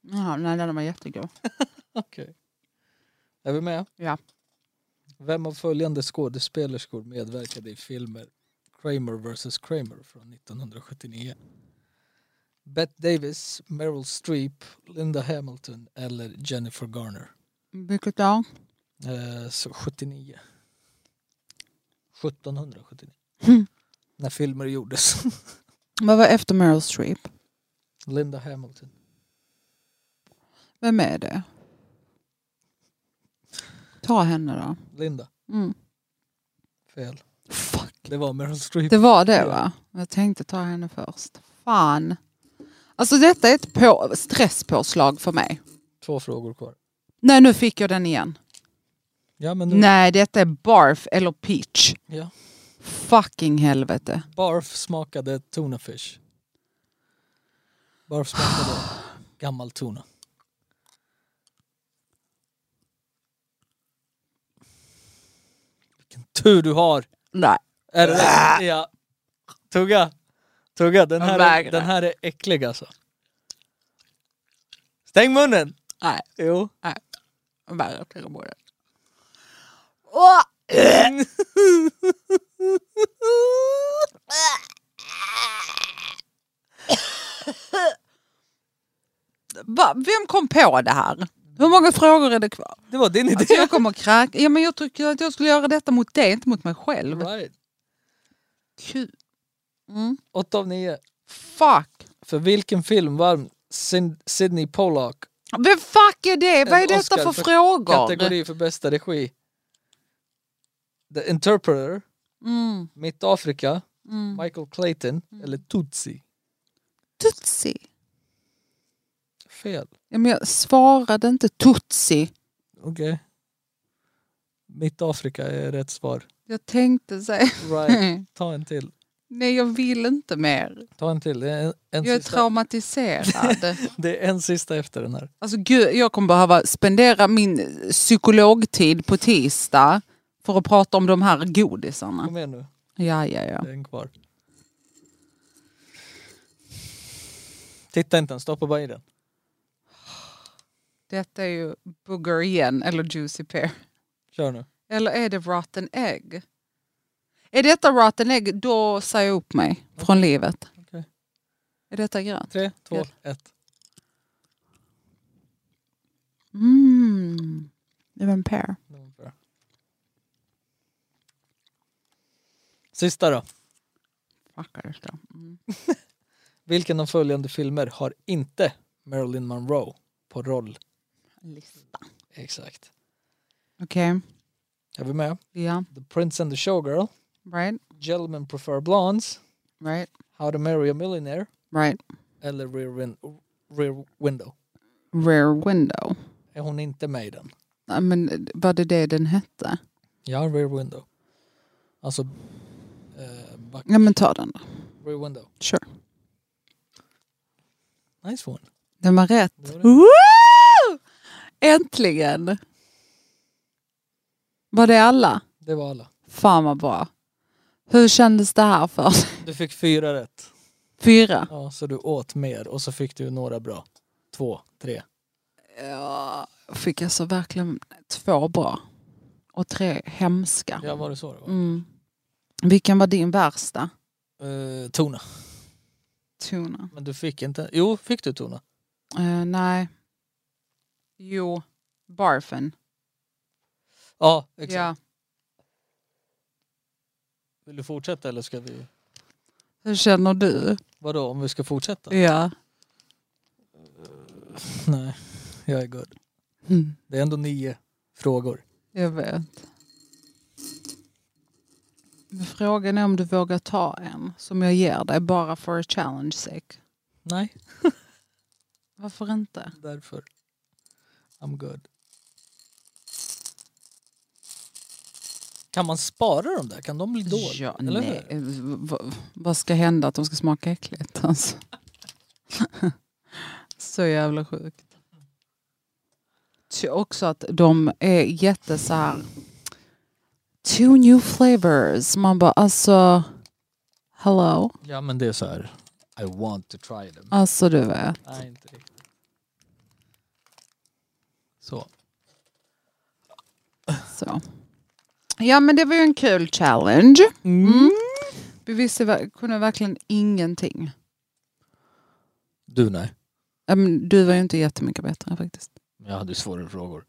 S1: Ja, nej, den var jättegod.
S2: Okej. Är vi med?
S1: Ja.
S2: Vem av följande skådespelerskor medverkade i filmer Kramer vs Kramer från 1979? Bette Davis, Meryl Streep, Linda Hamilton eller Jennifer Garner?
S1: Vilket då?
S2: Eh, så 79. 1779.
S1: Mm.
S2: När filmer gjordes.
S1: Vad var efter Meryl Streep?
S2: Linda Hamilton.
S1: Vem är det? Ta henne då.
S2: Linda.
S1: Mm.
S2: Fel.
S1: Fuck.
S2: Det var Meryl Streep.
S1: Det var det va? Jag tänkte ta henne först. Fan. Alltså detta är ett på, stresspåslag för mig.
S2: Två frågor kvar.
S1: Nej nu fick jag den igen.
S2: Ja, men nu...
S1: Nej detta är barf eller peach.
S2: Ja.
S1: Fucking helvete.
S2: Barf smakade tunafish. Barf smakade gammal tuna. Vilken tur du har!
S1: Nej.
S2: Är det det? Ja. Tugga! Tugga, den här,
S1: Äh. Jag
S2: är,
S1: vägrar.
S2: den här är äcklig alltså. Stäng munnen!
S1: Nej.
S2: Jo.
S1: Värre till och med. Äh. Va? Vem kom på det här? Hur många frågor är det kvar?
S2: Det var din
S1: Alltså
S2: idé.
S1: jag kommer kräka. Ja, men jag tycker att jag skulle göra detta mot dig, inte mot mig själv.
S2: Right.
S1: Kul. Mm.
S2: 8 av 9.
S1: Fuck.
S2: För vilken film vann Syd- Sidney Pollack
S1: Vem fuck är det? Vad är
S2: En
S1: detta
S2: Oscar
S1: för,
S2: för
S1: frågor?
S2: kategori för bästa regi? The Interpreter,
S1: Mm.
S2: Mitt Afrika,
S1: Mm.
S2: Michael Clayton eller Tutsi?
S1: Tutsi.
S2: Fel.
S1: Ja, men jag svarade inte Tutsi.
S2: Okej. Mitt Afrika är rätt svar.
S1: Jag tänkte säga...
S2: Right. Ta en till.
S1: Nej, jag vill inte mer.
S2: Ta en till. Det är en, en
S1: Jag är
S2: sista.
S1: traumatiserad.
S2: Det är en sista efter den här.
S1: Alltså gud, jag kommer behöva spendera min psykologtid på tisdag för att prata om de här godisarna.
S2: Kom igen nu.
S1: Ja, ja, ja.
S2: Det är en kvar. Titta inte ens, stoppa bara i den.
S1: Detta är ju booger igen, eller juicy pear.
S2: Kör nu.
S1: Eller är det rotten egg? Är detta rotten egg, då säger jag upp mig från livet.
S2: Okej.
S1: Är detta grönt?
S2: Tre, två, ett.
S1: Mm. Det var en pear.
S2: Det var bra. Sista då.
S1: Fuckar det då. Mm.
S2: Vilken av följande filmer har inte Marilyn Monroe på roll?
S1: Lista.
S2: Exakt.
S1: Okej,
S2: Är vi med?
S1: ja.
S2: The Prince and the Showgirl,
S1: Right,
S2: Gentlemen Prefer Blondes,
S1: right,
S2: How to Marry a Millionaire
S1: right.
S2: eller Rear, win- Rear Window.
S1: Rare window.
S2: Är hon inte med i den?
S1: Nej, Men var det det den hette?
S2: Ja, Rear Window. Alltså, eh, back,
S1: Ja men ta den då.
S2: Rear Window.
S1: Sure.
S2: Nice one.
S1: Den var rätt.
S2: Det var det.
S1: Woo! Äntligen! Var det alla?
S2: Det var alla.
S1: Fan vad bra. Hur kändes det här för dig?
S2: Du fick fyra rätt.
S1: Fyra?
S2: Ja, så du åt mer och så fick du några bra. Två, tre.
S1: Ja, fick alltså verkligen två bra. Och tre hemska.
S2: Ja, var det så det var?
S1: Mm. Vilken var din värsta?
S2: Eh, tona.
S1: Tuna.
S2: Men du fick inte... Jo, fick du tona?
S1: Eh, nej. Jo, barfen.
S2: Ja, exakt.
S1: Ja.
S2: Vill du fortsätta eller ska vi...
S1: Hur känner du?
S2: Vadå, om vi ska fortsätta?
S1: Ja.
S2: Nej, jag är good.
S1: Mm.
S2: Det är ändå nio frågor.
S1: Jag vet. Men Frågan är om du vågar ta en som jag ger dig bara för a challenge sake.
S2: Nej,
S1: Varför inte?
S2: därför. I'm good. Kan man spara dem där? Kan de bli dåliga?
S1: ja,
S2: eller
S1: nej.
S2: hur?
S1: V- v- vad ska hända att de ska smaka äckligt? Alltså. så jävla sjukt. Ty- Också att de är jätte så här. Two new flavors. Man bara alltså. Hello.
S2: Ja, men det är så här. I want to try them.
S1: Alltså du vet.
S2: Nej, inte riktigt. Så.
S1: Så. Ja men det var ju en kul challenge. Mm. Vi visste ver- kunde verkligen ingenting.
S2: Du nej.
S1: Ja, men Du var ju inte jättemycket bättre faktiskt.
S2: Men Jag hade ju svårare frågor.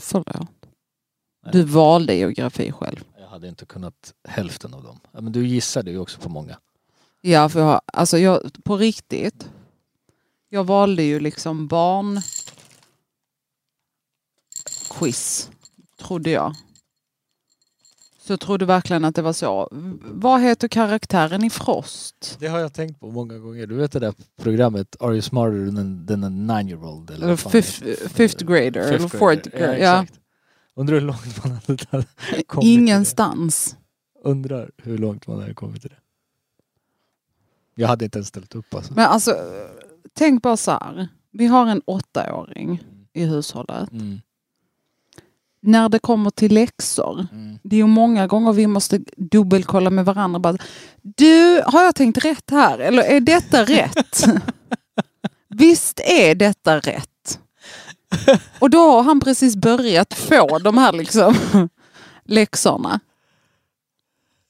S1: Förlåt.
S2: Nej.
S1: Du valde geografi själv.
S2: Jag hade inte kunnat hälften av dem. Ja, Men du gissade ju också på många.
S1: Ja, för jag, har- alltså jag, på riktigt. Jag valde ju liksom barn quiz, trodde jag. Så jag trodde verkligen att det var så. Vad heter karaktären i Frost?
S2: Det har jag tänkt på många gånger. Du vet det där programmet Are you smarter than, than a nine year old?
S1: Eller fifth, fifth grader eller fourth grader. Ja,
S2: exakt. Undrar hur långt man hade tagit- kommit till det.
S1: Ingenstans.
S2: Undrar hur långt man hade kommit till det. Jag hade inte ens ställt upp alltså.
S1: Men alltså, tänk bara så här. Vi har en åttaåring i hushållet.
S2: Mm.
S1: När det kommer till läxor
S2: Mm.
S1: Det är ju många gånger vi måste dubbelkolla med varandra. Bara, du, har jag tänkt rätt här? Eller är detta rätt? Visst är detta rätt? Och då har han precis börjat få de här liksom läxorna.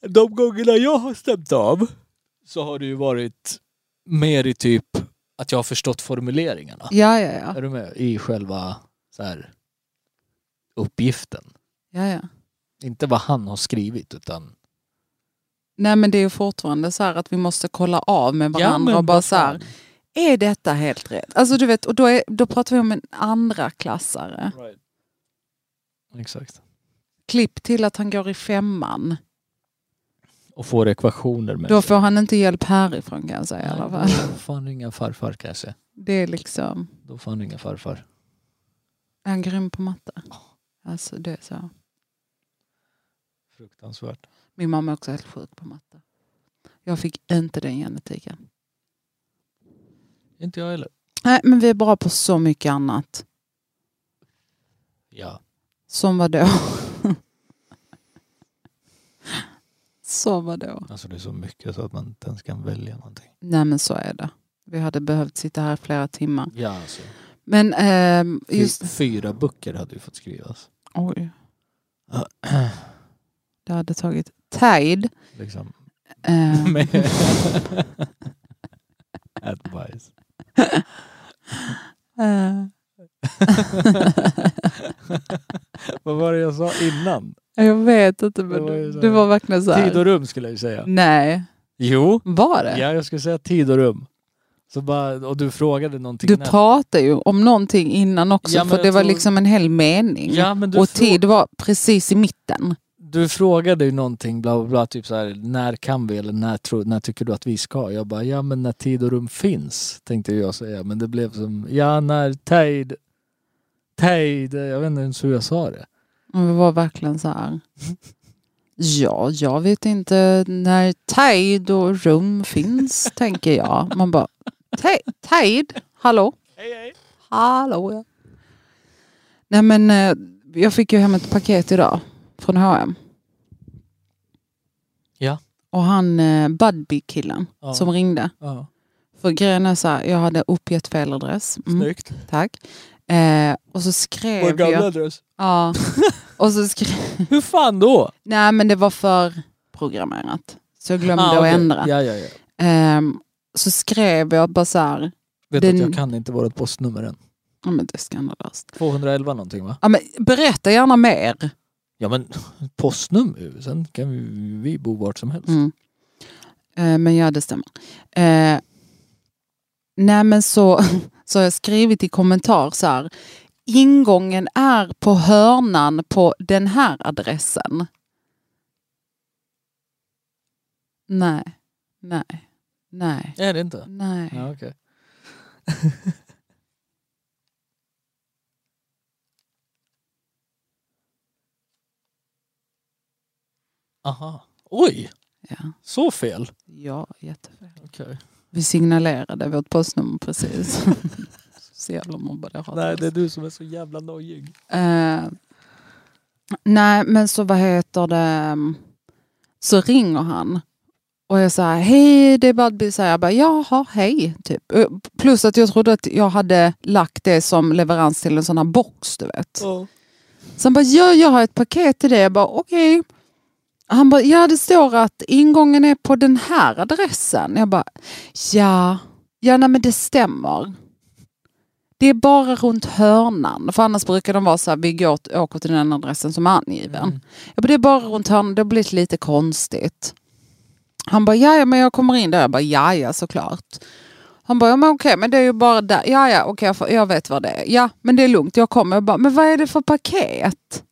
S2: De gångerna jag har stämt av så har det ju varit mer i typ att jag har förstått formuleringarna.
S1: Ja, ja, ja.
S2: Är du med? I själva så här, uppgiften.
S1: ja, ja.
S2: Inte vad han har skrivit utan
S1: Nej men det är ju fortfarande så här att vi måste kolla av med varandra
S2: men
S1: och bara
S2: vad
S1: så här,
S2: fan.
S1: är detta helt rätt? Alltså du vet, och då, är, då pratar vi om en andra klassare.
S2: Exakt.
S1: Klipp till att han går i femman.
S2: Och får ekvationer med
S1: Då
S2: sig.
S1: får han inte hjälp härifrån kan jag säga i alla fall.
S2: Då får han ringa farfar kanske.
S1: Det är liksom,
S2: Då får han ringa farfar.
S1: är han grym på matte? Alltså det är så.
S2: Fruktansvärt.
S1: Min mamma är också helt sjuk på matte. Jag fick inte den genetiken.
S2: Inte jag heller.
S1: Nej men vi är bra på så mycket annat.
S2: Ja.
S1: Som vadå? Som vadå?
S2: Alltså det är så mycket så att man inte ens kan välja någonting.
S1: Nej men så är det. Vi hade behövt sitta här i flera timmar.
S2: Ja alltså.
S1: Men ehm, just...
S2: Fyra böcker hade ju fått skrivas.
S1: Oj. Det hade tagit tid.
S2: liksom.
S1: Ehm,
S2: Med advice.
S1: eh,
S2: Vad var det jag sa innan?
S1: eh, jag vet inte men
S2: Det var ju så
S1: du, du
S2: här-
S1: var verkligen så här.
S2: Tid och rum skulle jag ju säga.
S1: Nej.
S2: Jo.
S1: Var Mm. det?
S2: Ja, jag skulle säga tid och rum. Så bara, och du frågade någonting.
S1: Du
S2: när-
S1: pratade ju om någonting innan också
S2: Ja, men
S1: för
S2: jag
S1: det var
S2: tror-
S1: liksom en hel mening.
S2: ja, men du
S1: och
S2: frå-
S1: tid var precis i mitten.
S2: du frågade ju någonting, bla bla bla, typ så här, när kan vi eller när, tro, när tycker du att vi ska? Jag bara, ja men när tid och rum finns, tänkte jag säga. Men det blev som, ja när tid, tid, jag vet inte ens hur jag sa det.
S1: Och vi var verkligen så här. Ja, jag vet inte när tid och rum finns, tänker jag. Man bara, "Ti- tid? Hallå?
S2: Hej hej!
S1: Hallå ja. Nej men eh, jag fick ju hem ett paket idag från H&M.
S2: Ja.
S1: Och han eh, Budbee-killen
S2: Ja.
S1: som ringde.
S2: Ja.
S1: För grejen är så här, jag hade uppgett fel adress. Mm,
S2: Snyggt.
S1: tack. Eh, och så skrev
S2: Vår gamla
S1: jag...
S2: adress.
S1: Ja. Och så skrev...
S2: Hur fan då?
S1: Nej men det var för programmerat. Så jag glömde
S2: Ah, okej.
S1: att ändra.
S2: Ja, ja, ja.
S1: Ehm, så skrev jag bara så här,
S2: Vet
S1: Den-
S2: att jag kan inte vårt postnummer än.
S1: ja men det är skandalöst.
S2: 211 någonting va?
S1: Ja men berätta gärna mer.
S2: Ja men postnummer, sen kan vi, vi bo vart som helst.
S1: Mm. Eh, Mm. men ja, det stämmer. Eh, nej, men så, så har jag skrivit i kommentar så här. Ingången är på hörnan på den här adressen. Nej, nej, nej,
S2: Är det inte?
S1: nej.
S2: Ja, okej. Aha. Oj,
S1: Ja,
S2: så fel.
S1: ja jättefel.
S2: Okej.
S1: Vi signalerade vårt postnummer precis. så jävla mobbade jag hatar
S2: Nej, det är du som är så jävla nojig.
S1: Eh, nej, men så vad heter det? Så ringer han. Och jag säger hej, det är Budbee. Så här, jag bara, jaha, hej. Typ. Eh, Plus att jag trodde att jag hade lagt det som leverans till en sån här box, du vet. Så han bara, ja, jag har ett paket till dig. Jag bara, okej. Han bara, ja det står att ingången är på den här adressen. Jag bara, ja, ja nej, men det stämmer. Det är bara runt hörnan. För annars brukar de vara så här, vi går, åker till den adressen som är angiven.
S2: Mm.
S1: Jag bara, det är bara runt hörnan, det har blivit lite konstigt. Han bara, ja ja, men jag kommer in där. Jag bara, ja ja såklart. Han bara, ja, men okej, men det är ju bara där. Ja, ja, okej, jag, får- jag vet vad det är. Ja, men det är lugnt, jag kommer. Jag bara, men vad är det för paket?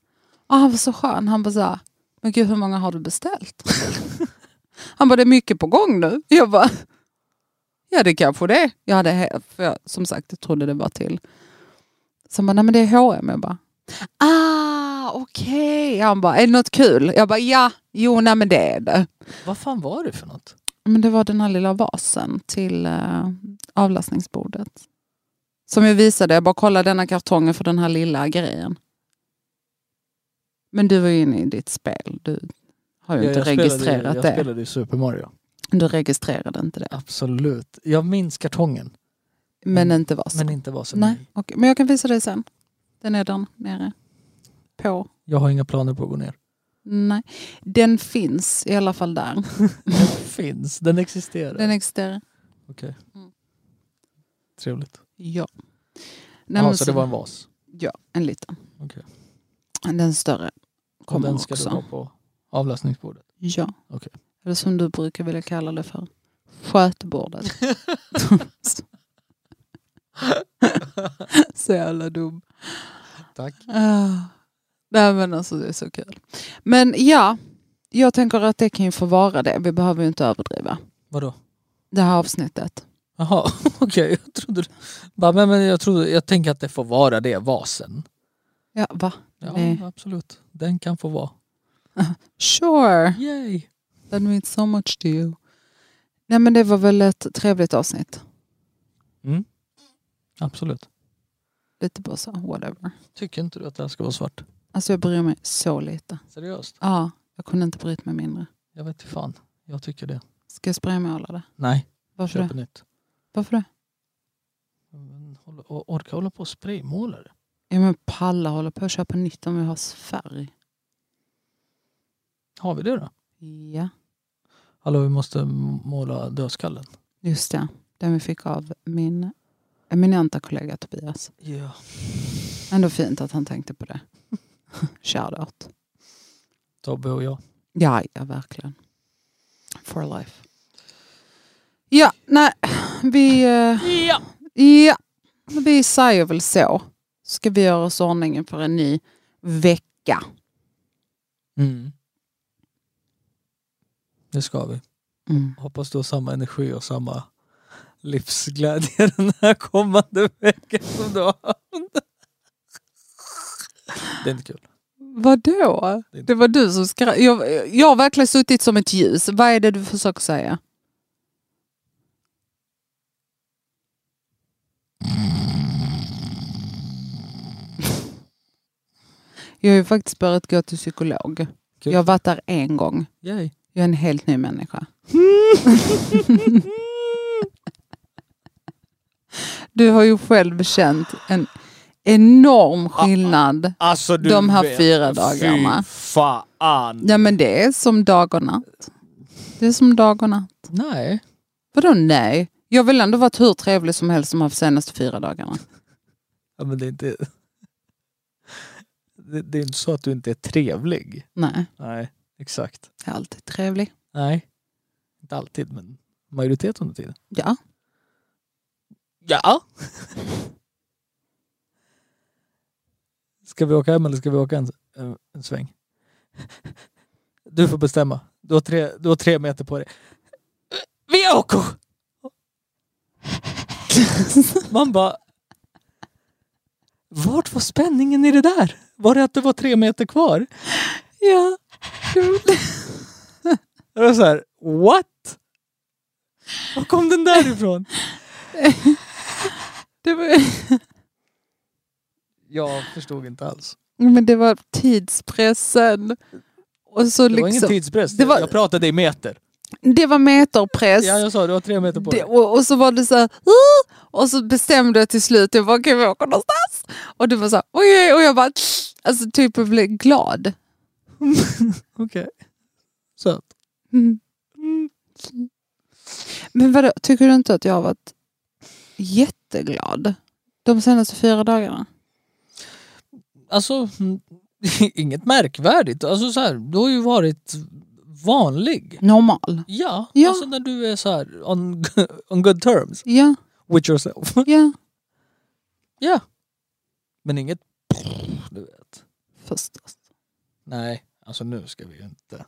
S1: Ah, han var så skön. Han bara så här, men gud, hur många har du beställt? han bara, det är mycket på gång nu. Jag bara, ja det kanske det är. Jag hade, he- för jag, som sagt, jag trodde det var till. Så han bara, nej men det är H&M. Jag bara, ah, okej. Han bara, är det något kul? Jag bara, ja, jo, nej men det är det.
S2: Vad fan var det för något?
S1: Men det var den här lilla vasen till eh, avlastningsbordet. Som jag visade, jag bara kolla denna kartongen för den här lilla grejen. Men du var ju inne i ditt spel, du har ju inte registrerat
S2: jag
S1: det.
S2: spelade ju Super Mario.
S1: Du registrerade inte det.
S2: Absolut. Jag minns kartongen,
S1: Men
S2: Mm.
S1: inte vasen.
S2: men inte vad som
S1: Nej, okej. men jag kan visa dig sen. Den är där nere. På.
S2: Jag har inga planer på att gå ner.
S1: Nej. Den finns i alla fall där.
S2: Den finns, den existerar.
S1: Den existerar.
S2: Trevligt.
S1: Ja. Nej,
S2: Ja,
S1: men
S2: så det var en vas.
S1: Ja, en liten.
S2: Okej.
S1: Den större
S2: Och
S1: kommer
S2: den ska
S1: också.
S2: du ha på avlastningsbordet.
S1: Ja.
S2: Okej.
S1: Eller som du brukar vilja kalla det för, skötbordet. så jävla dum.
S2: Tack.
S1: Ah. Nej men alltså det är så kul. Men ja, jag tänker att det kan ju få vara det. Vi behöver ju inte överdriva
S2: Vadå?
S1: det här avsnittet.
S2: Jaha, okej. Jag trodde... Bara, men, men jag, trodde, jag tänker att det får vara det, vasen.
S1: Ja, va?
S2: Ja,
S1: Nej.
S2: absolut. Den kan få vara.
S1: Sure,
S2: Yay!
S1: that means so much to you. Nej men det var väl ett trevligt avsnitt.
S2: Absolut.
S1: Lite bara så, whatever.
S2: Tycker inte du att det här ska vara svart?
S1: Alltså jag bryr mig så lite.
S2: Seriöst?
S1: Ja, jag kunde inte bryta mig mindre.
S2: Jag vet inte fan. Jag tycker det.
S1: Ska jag spraymåla det?
S2: Nej,
S1: Varför
S2: köp
S1: det?
S2: ett nytt.
S1: Varför det?
S2: Men hålla- o- Orka hålla på och spraymåla det?
S1: Ja men palla håller på att köpa nytt om vi har färg.
S2: Har vi det då?
S1: Ja,
S2: Hallå, vi måste måla dödskallen.
S1: just det. Den vi fick av min eminenta kollega Tobias.
S2: Ja.
S1: Ändå fint att han tänkte på det. Shoutout.
S2: Tobbe och jag.
S1: Ja, ja verkligen. For life. Ja, nej. Vi, eh,
S2: Ja!
S1: ja, vi säger väl så. Ska vi göra oss i ordningen för en ny vecka.
S2: Mm. Det ska vi.
S1: Mm.
S2: Hoppas du har samma energi och samma livsglädje den här kommande veckan som du har. Det är inte kul.
S1: Vadå? Det var du som skrattade. Jag, jag har verkligen suttit som ett ljus. Vad är det du försöker säga? Jag har ju faktiskt börjat gå till psykolog.
S2: Kul.
S1: Jag har varit där en gång.
S2: Yay.
S1: Jag är en helt ny människa. Du har ju själv känt en enorm skillnad.
S2: Alltså du
S1: De här
S2: vet,
S1: fyra dagarna.
S2: Fy fan.
S1: Ja men det är som dag och natt. Det är som dag och natt.
S2: Nej.
S1: Vadå nej? Jag vill ändå varit hur trevlig som helst de här senaste fyra dagarna.
S2: Ja, men det, är inte... det, det är inte så att du inte är trevlig.
S1: Nej,
S2: Nej, exakt.
S1: jag är alltid trevlig.
S2: Nej. Inte alltid, men majoritet under tiden.
S1: Ja.
S2: Ja. Ska vi åka hem eller ska vi åka en, en, en sväng? Du får bestämma. Du har, tre, du har tre meter på dig. Vi åker! Man bara... Vart var spänningen i det där? Var det att det var tre meter kvar?
S1: ja.
S2: Det var så här, what? Var kom den där ifrån?
S1: Det var,
S2: Jag förstod inte alls.
S1: men det var tidspressen. Och så
S2: Det var ingen
S1: liksom,
S2: tidspress.
S1: det var-
S2: Jag pratade i meter.
S1: det var meterpress.
S2: Ja, jag sa du har tre meter på
S1: det,
S2: dig.
S1: och, och så var det så här, "Ah!" och så bestämde jag till slut, jag bara, kan vi åka någonstans? Och du var så här, oj, oj, och jag bara, "Tsch!" alltså typ jag blev glad.
S2: Okej. Söt.
S1: Mm. Men vadå, tycker du inte att jag har varit jätteglad de senaste fyra dagarna?
S2: Alltså, mm, inget märkvärdigt. Alltså så här, du har ju varit vanlig.
S1: Normal.
S2: Ja,
S1: Ja.
S2: alltså när du är så här on, on good terms
S1: Ja,
S2: with yourself.
S1: ja.
S2: Ja. Men inget du vet.
S1: Förstås.
S2: Nej, alltså nu ska vi ju inte.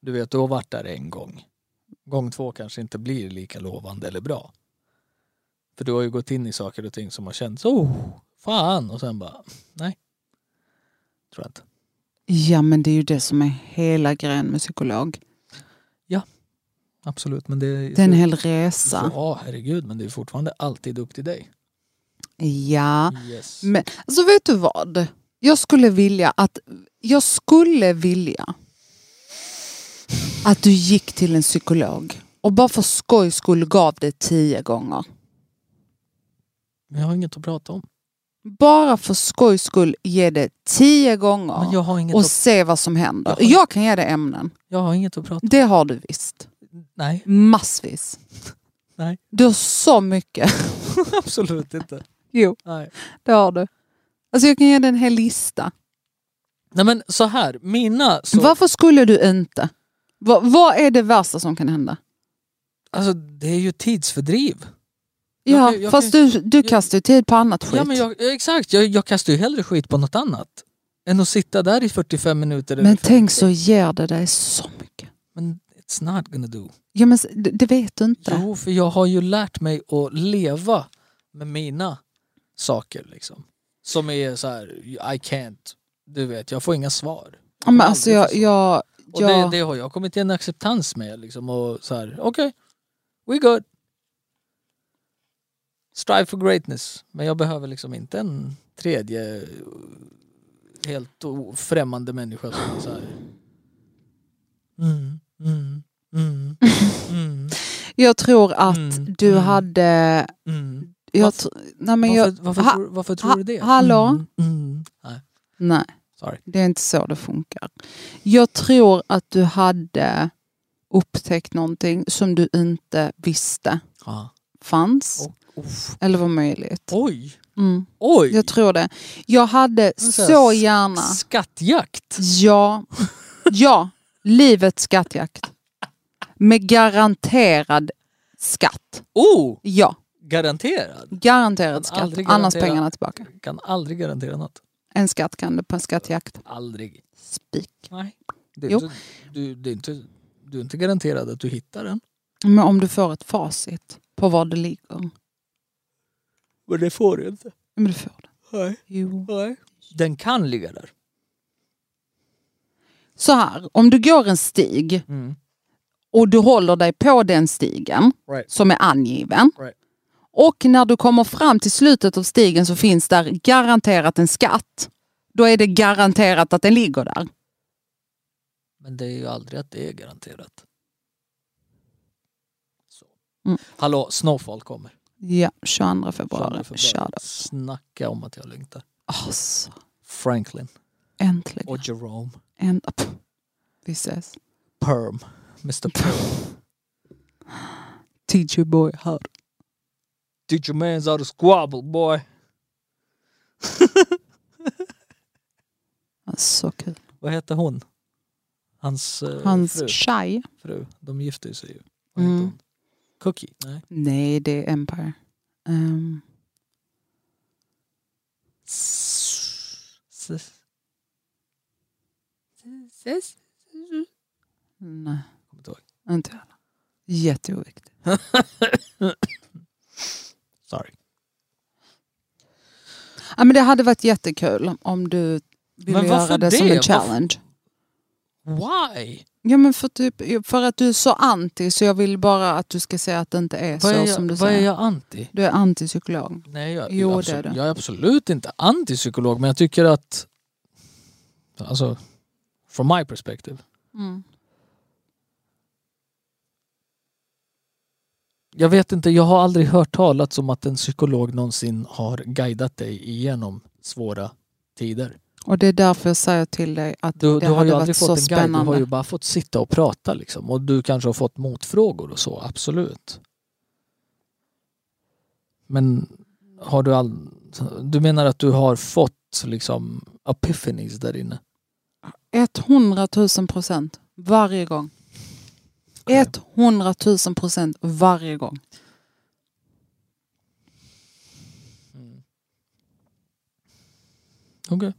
S2: Du vet, du har varit där en gång. Gång två kanske inte blir lika lovande eller bra. För du har ju gått in i saker och ting som har känts, oh, fan, och sen bara, nej. Tror jag inte.
S1: Ja, men det är ju det som är hela grejen med psykolog.
S2: Absolut, men det är...
S1: Det är en hel
S2: Så,
S1: resa.
S2: ja, herregud, men det är fortfarande alltid upp till dig.
S1: Ja.
S2: Yes.
S1: Men alltså vet du vad? Jag skulle vilja att, jag skulle vilja att du gick till en psykolog och bara för skojs skull gav det tio gånger.
S2: Men jag har inget att prata om.
S1: Bara för skojs skull ge det tio gånger
S2: Men jag har inget,
S1: och
S2: att,
S1: se vad som händer.
S2: Jag har-
S1: Jag kan ge dig ämnen.
S2: jag har inget att prata om.
S1: Det har du visst.
S2: Nej,
S1: Massvis.
S2: Nej.
S1: Du har så mycket.
S2: absolut inte.
S1: Jo,
S2: Nej.
S1: det har du. Alltså jag kan ge dig en hel lista.
S2: nej, men så här, mina... Så,
S1: Varför skulle du inte? Va, vad är det värsta som kan hända?
S2: Alltså, det är ju tidsfördriv. Jag
S1: Ja,
S2: kan- jag
S1: fast du, du kastar ju tid på annat skit.
S2: Ja, men jag, ja, exakt, jag, jag kastar ju hellre skit på något annat. Än att sitta där i 45 minuter. eller
S1: Men
S2: 45
S1: tänk så ger det dig så mycket.
S2: Men it's not gonna do.
S1: Ja, men s- det, det vet du inte.
S2: Jo, för jag har ju lärt mig att leva med mina saker liksom. Som är så här, I can't. Du vet, jag får inga svar.
S1: Ja, men alltså jag...
S2: Aldrig
S1: jag,
S2: Och
S1: jag
S2: det, det har jag kommit till en acceptans med liksom och så här, okej, we good. Strive for greatness. Men jag behöver liksom inte en tredje eh, helt o- främmande människa som är så här. Mm, mm, mm, mm,
S1: jag tror att
S2: Mm,
S1: du
S2: mm.
S1: hade...
S2: mm.
S1: Jag,
S2: Varför-
S1: tr- nej, men jag,
S2: Varför, varför,
S1: ha-
S2: tror, varför
S1: ha-
S2: tror du det?
S1: hallå?
S2: Mm, mm, nej,
S1: nej,
S2: sorry.
S1: det är inte så det funkar. Jag tror att du hade upptäckt någonting som du inte visste
S2: Ja.
S1: fanns
S2: Och- uff.
S1: eller var möjligt.
S2: Oj,
S1: Mm.
S2: oj!
S1: Jag tror det. Jag hade
S2: Men så här,
S1: så
S2: s-
S1: gärna...
S2: Skattjakt!
S1: Ja, ja. livets skattjakt. Med garanterad skatt.
S2: Oh!
S1: Ja,
S2: Garanterad.
S1: garanterad
S2: Kan
S1: skatt.
S2: aldrig
S1: Annars
S2: garantera.
S1: pengarna tillbaka.
S2: Kan aldrig garantera något.
S1: En skatt kan du på en skattjakt.
S2: Aldrig.
S1: Spik.
S2: Nej. Det,
S1: Jo.
S2: du, du, det är inte, du är inte garanterad att du hittar den.
S1: Men om du får ett facit på var det ligger.
S2: Men det får du inte.
S1: Men du får det.
S2: Nej.
S1: Jo.
S2: Nej. Den kan ligga där.
S1: Så här, om du går en stig
S2: Mm.
S1: och du håller dig på den stigen
S2: Right.
S1: som är angiven.
S2: Right.
S1: Och när du kommer fram till slutet av stigen så finns där garanterat en skatt. Då är det garanterat att den ligger där.
S2: Men det är ju aldrig att det är garanterat. Så.
S1: Mm.
S2: Hallå, Snowfall kommer.
S1: Ja, 22 februari.
S2: 22
S1: Shut up.
S2: Snacka om att jag längtar.
S1: Alltså,
S2: Franklin
S1: äntligen.
S2: och Jerome.
S1: Änt- Pff, Vi ses.
S2: Perm. Mr Perm.
S1: Teach your boy how.
S2: Teach your man's out of squabble boy.
S1: Så kul.
S2: Vad heter hon? Hans, eh,
S1: Hans
S2: fru,
S1: tjej.
S2: fru. De gifte sig ju. Vad
S1: Mm.
S2: heter hon? Cookie? Nej.
S1: Nej, det är Empire. Ehm,
S2: S-
S1: nej,
S2: Kommer inte ihåg.
S1: inte jag. heller. Jätteoviktigt.
S2: Sorry.
S1: Ja, men det hade varit jättekul om du ville
S2: Men
S1: göra
S2: varför
S1: det, som
S2: det?
S1: en
S2: Varför-
S1: challenge.
S2: Why?
S1: Ja, men för, typ, för att du är så anti så jag vill bara att du ska säga att det inte är så
S2: Vad är,
S1: som du
S2: jag, vad är
S1: säger.
S2: jag anti?
S1: Du är antipsykolog.
S2: Nej, jag,
S1: Jo,
S2: jag,
S1: det är
S2: absolut,
S1: det.
S2: jag är absolut inte antipsykolog men jag tycker att... Alltså, from my perspective. Mm. Jag vet inte, jag har aldrig hört talas om att en psykolog någonsin har guidat dig igenom svåra tider.
S1: Och det är därför jag säger till dig att
S2: Du,
S1: det
S2: du har
S1: hade
S2: ju
S1: varit
S2: aldrig
S1: så
S2: fått en guide, du
S1: spännande.
S2: har ju bara fått sitta och prata liksom. Och du kanske har fått motfrågor och så, absolut. Men har du all... Du menar att du har fått liksom epiphanies där inne?
S1: 100 000 procent varje gång. 100 000 procent varje gång.
S2: Mm. Okej.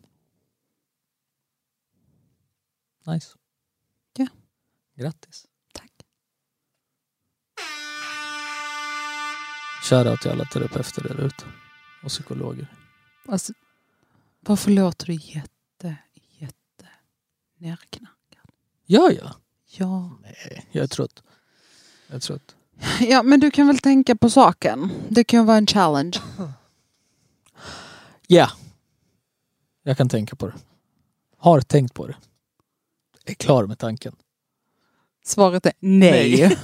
S2: Nice.
S1: Ja.
S2: Grattis.
S1: Tack.
S2: Shoutout till alla terapeuter där ute. Och psykologer.
S1: Alltså, varför låter du jätte, jätte nerknackad?
S2: Gör jag?
S1: Ja.
S2: Nej, jag är trött. Jag är trött.
S1: ja, men du kan väl tänka på saken. Det kan ju vara en challenge.
S2: Ja. Jag kan tänka på det. Har tänkt på det. Är klar med tanken.
S1: Svaret är nej.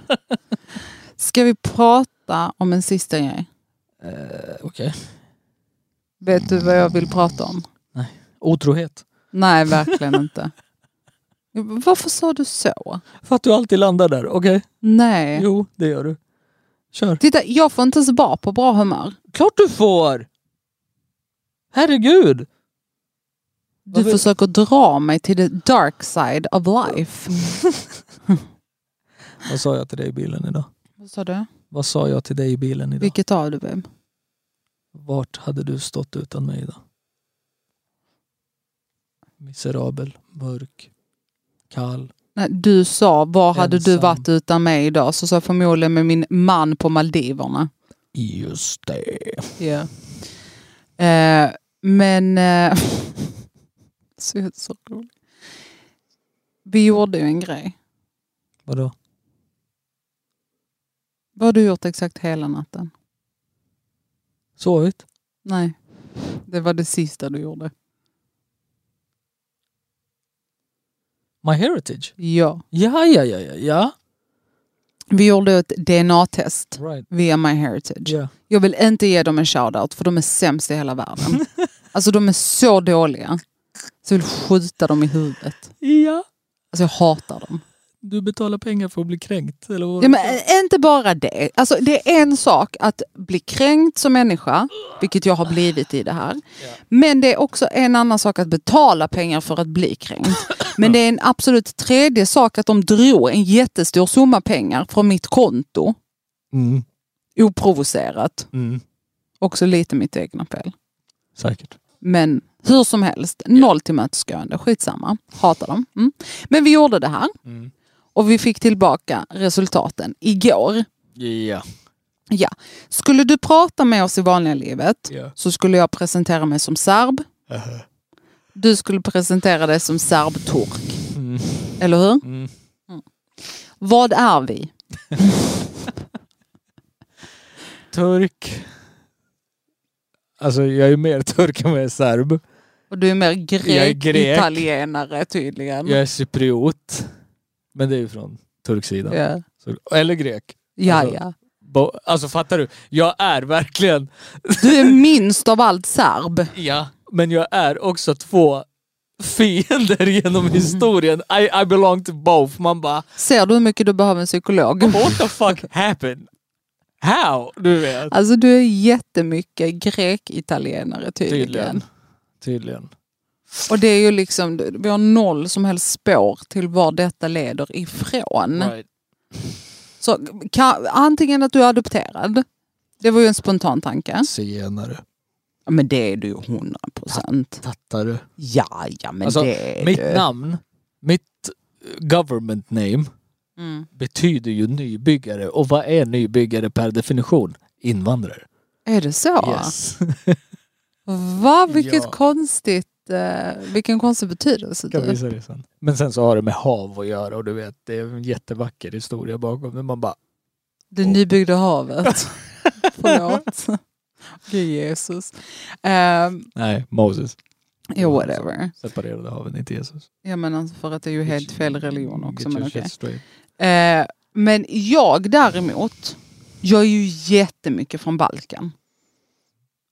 S1: Ska vi prata om en sista grej?
S2: Eh, Okej.
S1: Vet du vad jag vill prata om?
S2: Otrohet.
S1: Nej, verkligen inte. Varför sa du så?
S2: För att du alltid landar där. Okej.
S1: Nej.
S2: Jo, det gör du. Kör.
S1: Titta, jag får inte ens vara på bra humör.
S2: Klart du får! Herregud!
S1: Du
S2: Varför-
S1: försöker dra mig till the dark side of life.
S2: Vad sa jag till dig i bilen idag?
S1: Vad sa du?
S2: Vad sa jag till dig i bilen idag?
S1: Vilket av du babe?
S2: Vart hade du stått utan mig idag? Miserabel, mörk, kall.
S1: Nej, du sa, var hade du
S2: Ensam.
S1: varit utan mig idag? Så sa jag förmodligen med min man på Maldiverna.
S2: Just det.
S1: Ja. Eh, men... Eh, så, jag är så rolig. Vi gjorde ju en grej.
S2: Vadå?
S1: Vad har du gjort exakt hela natten?
S2: Sovit?
S1: Nej, det var det sista du gjorde.
S2: My heritage?
S1: Ja.
S2: Ja, ja, ja, ja. ja.
S1: Vi gjorde ett DNA-test
S2: Right.
S1: via My Heritage.
S2: Ja.
S1: Jag vill inte ge dem en shoutout för de är sämst i hela världen. alltså de är så dåliga. Så jag vill skjuta dem i huvudet.
S2: ja.
S1: Alltså jag hatar dem.
S2: Du betalar pengar för att bli kränkt? Eller vad?
S1: Ja, men, eh, inte bara det. Alltså, det är en sak att bli kränkt som människa, vilket jag har blivit i det här.
S2: Ja.
S1: Men det är också en annan sak att betala pengar för att bli kränkt. Men det är en absolut tredje sak att de drog en jättestor summa pengar från mitt konto,
S2: Mm,
S1: oprovocerat.
S2: mm.
S1: Också lite mitt egna fel.
S2: Säkert.
S1: Men hur som helst, noll tillmötesgående. Skitsamma, hatar dem. Mm. Men vi gjorde det här
S2: Mm.
S1: och vi fick tillbaka resultaten igår.
S2: Ja.
S1: Ja. Skulle du prata med oss i vanliga livet
S2: Ja.
S1: så skulle jag presentera mig som serb. Du skulle presentera dig som serbturk,
S2: Mm.
S1: eller hur?
S2: Mm.
S1: Vad är vi?
S2: turk. Alltså jag är mer turk än vad jag är serb.
S1: Och du är mer grek,
S2: Jag är grek.
S1: italienare tydligen.
S2: Jag är cypriot. Men det är ju från turksidan.
S1: Ja,
S2: Så, eller grek.
S1: ja.
S2: Alltså-
S1: ja.
S2: Bo, alltså fattar du? Jag är verkligen...
S1: Du är minst av allt serb.
S2: Ja. Men jag är också två fiender genom historien. I, I belong to both. Man bara,
S1: Ser du hur mycket du behöver en psykolog?
S2: what the fuck happened? How? Du vet.
S1: Alltså du är jättemycket grek-italienare tydligen.
S2: Tydligen.
S1: Och det är ju liksom, vi har noll som helst spår till var detta leder ifrån.
S2: Right.
S1: Så kan, antingen att du är adopterad, det var ju en spontan tanke.
S2: Zigenare.
S1: Ja, men det är du ju hundra procent.
S2: Tattare.
S1: Ja, ja men
S2: Alltså,
S1: det är
S2: Mitt
S1: du.
S2: namn, mitt eh, government name
S1: Mm.
S2: betyder ju nybyggare. Och vad är nybyggare per definition? Invandrare.
S1: Är det så?
S2: Yes.
S1: Va, vilket
S2: Ja.
S1: konstigt, eh, vilken konstig betydelse.
S2: kan
S1: Du.
S2: visa det sen. Men sen så har det med hav att göra och du vet, det är en jättevacker historia bakom det. Man bara,
S1: Det nybyggda havet. Förlåt. Gud Jesus. Um,
S2: nej, Moses.
S1: yeah, whatever.
S2: Separerade haven, inte Jesus.
S1: Jag menar för att det är ju helt fel religion också.
S2: Get
S1: Men
S2: your
S1: okej.
S2: shit straight.
S1: Eh, men jag däremot, jag är ju jättemycket från Balkan.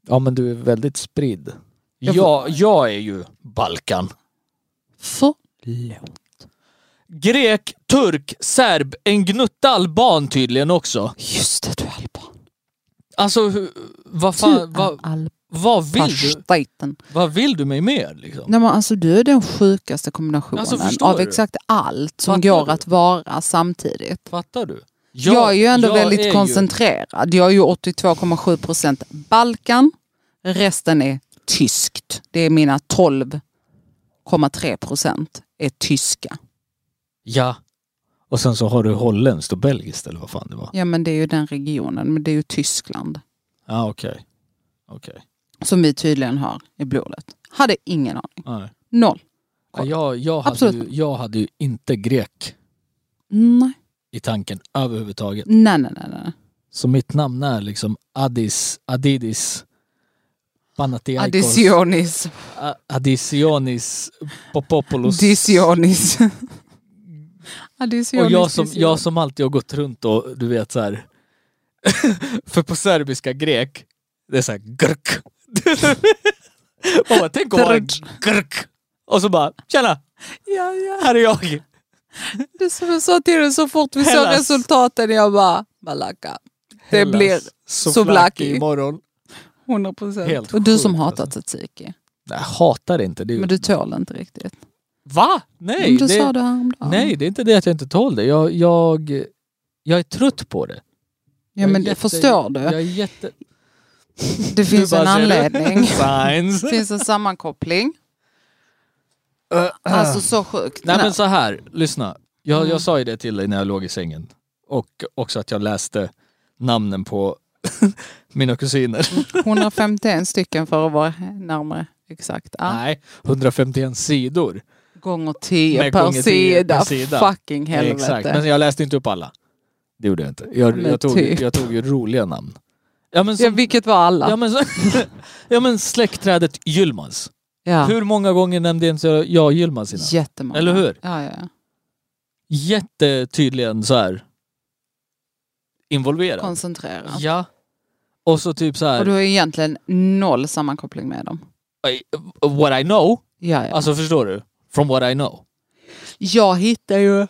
S2: Ja men du är väldigt spridd.
S1: Jag
S2: Jag,
S1: får-
S2: jag, är ju Balkan.
S1: Förlåt.
S2: Grek, turk, serb, en gnutta alban tydligen också.
S1: Just det, du är alban.
S2: Alltså hur- vad
S1: Du
S2: fan,
S1: är
S2: vad, vad vill du?
S1: albanstaten.
S2: Vad vill du mig mer liksom?
S1: Nej men alltså du är den sjukaste kombinationen
S2: Alltså, förstår
S1: av
S2: du?
S1: exakt allt som
S2: Fattar
S1: går
S2: du?
S1: att vara samtidigt.
S2: Fattar du?
S1: Jag, är ju ändå
S2: jag är
S1: väldigt
S2: ju-
S1: koncentrerad. Jag är ju 82,7 procent Balkan. Resten är tyskt. Det är mina 12,3 procent är tyska.
S2: Ja. Och sen så har du holländskt och belgiskt eller vad fan det var.
S1: Ja men det är ju den regionen, men det är ju Tyskland
S2: Ja ah, okej. Okej.
S1: som vi tydligen har i blodet. Hade ingen aning.
S2: Nej.
S1: Noll.
S2: Ja, jag, jag, hade
S1: Absolut.
S2: ju, jag hade ju inte grek Mm.
S1: Nej.
S2: i tanken överhuvudtaget.
S1: Nej, nej, nej. nej.
S2: Så mitt namn är liksom Addis, Adidis, Panathinaikos,
S1: Additionis.
S2: A- Additionis, Popopoulos.
S1: Disionis. Additionis.
S2: Och jag som, jag
S1: disionis.
S2: som alltid har gått runt och du vet så här. för på serbiska grek, det är så här grk. Man bara, tänk att vara en grk. Och så bara, tjena,
S1: Ja, ja.
S2: här är jag.
S1: Det är som jag sa till dig så fort vi såg
S2: Hellas.
S1: resultaten, jag bara Malaka. Det
S2: Hellas,
S1: blir souvlaki.
S2: imorgon.
S1: 100 procent.
S2: Helt
S1: Och du som
S2: sjukt,
S1: hatar
S2: alltså.
S1: tzatziki.
S2: Nej, jag hatar inte det. är ju-
S1: Men du tål inte riktigt.
S2: Va?
S1: Nej,
S2: Nej,
S1: du
S2: det-
S1: sa det häromdagen.
S2: Nej, det är inte det att jag inte tål det. Jag, jag, jag är trött på det.
S1: ja, men det förstår du.
S2: Jag är jätte...
S1: det finns
S2: Du bara
S1: en
S2: ser det.
S1: anledning.
S2: Signs.
S1: det finns en sammankoppling.
S2: Äh,
S1: Alltså så sjukt.
S2: Nej
S1: Nej.
S2: men så här, lyssna. Jag,
S1: Mm.
S2: jag sa ju det till dig när jag låg i sängen. Och också att jag läste namnen på mina kusiner.
S1: 151 stycken för att vara närmare exakt. Ja.
S2: Nej, 151 sidor.
S1: Gånger 10
S2: Nej,
S1: per
S2: gånger 10 per
S1: sida.
S2: sida.
S1: Fucking
S2: Exakt,
S1: helvete.
S2: men jag läste inte upp alla. Det gjorde jag inte. Jag,
S1: Men
S2: jag, tog,
S1: typ.
S2: jag tog ju roliga namn. Ja men,
S1: Ja,
S2: som,
S1: vilket var alla.
S2: Alltså, ja, men, så, ja, men släktträdet Yilmaz.
S1: Ja.
S2: Hur många gånger nämnde inte jag- jag Yilmaz innan?
S1: Jättemånga.
S2: Eller hur?
S1: Ja, ja, ja.
S2: Jättetydligen så här involverad.
S1: Koncentrera.
S2: Ja. Och så typ så
S1: Och
S2: här,
S1: du har ju egentligen noll sammankoppling med dem.
S2: I- what I know.
S1: Ja, ja.
S2: Alltså förstår du? From what I know.
S1: jag hittade ju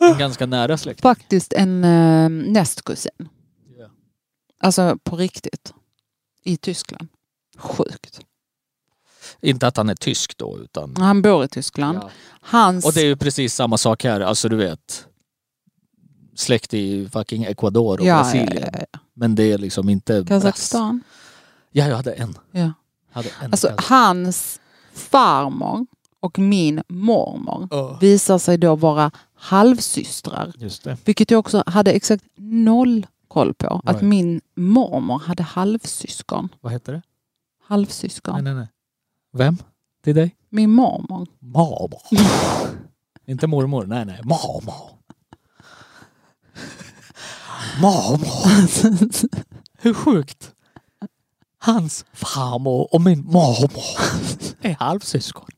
S2: En ganska nära släkt.
S1: faktiskt en eh, nästkusin.
S2: Ja.
S1: Alltså på riktigt. I Tyskland. Sjukt.
S2: Inte att han är tysk då utan...
S1: Han bor i Tyskland.
S2: Ja.
S1: Hans...
S2: Och det är ju precis samma sak här, alltså du vet. Släkt i fucking Ecuador och
S1: ja, ja,
S2: Brasilien.
S1: ja, ja.
S2: Men det är liksom inte... brass.
S1: Kazakstan.
S2: Ja, jag hade en.
S1: Ja.
S2: Hade en
S1: Alltså
S2: kazak.
S1: hans farmor och min mormor
S2: Ja.
S1: visar sig då vara halvsystrar.
S2: Just det.
S1: Vilket jag också hade exakt noll koll på. Att
S2: Right.
S1: min mormor hade halvsyskon.
S2: Vad heter det? Nej,
S1: Halvsyskon.
S2: nej, nej. Vem? Till dig?
S1: Min mormor.
S2: Mamma. Inte mormor, nej nej. Mamma. Mamma. Hur sjukt? Hans farmor och min mormor är halvsyskon.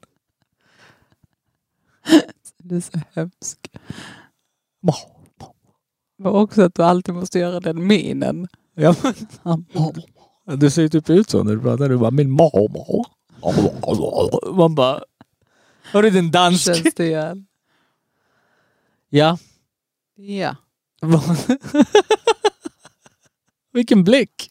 S1: Det är så hemskt.
S2: Mamma.
S1: Och också att du alltid måste göra den minen.
S2: Ja, men, du ser ju typ ut så när du pratar. Du bara min mormor. Man bara... Hörru din dansk.
S1: Känns det igen?
S2: Ja.
S1: Ja.
S2: Vilken blick.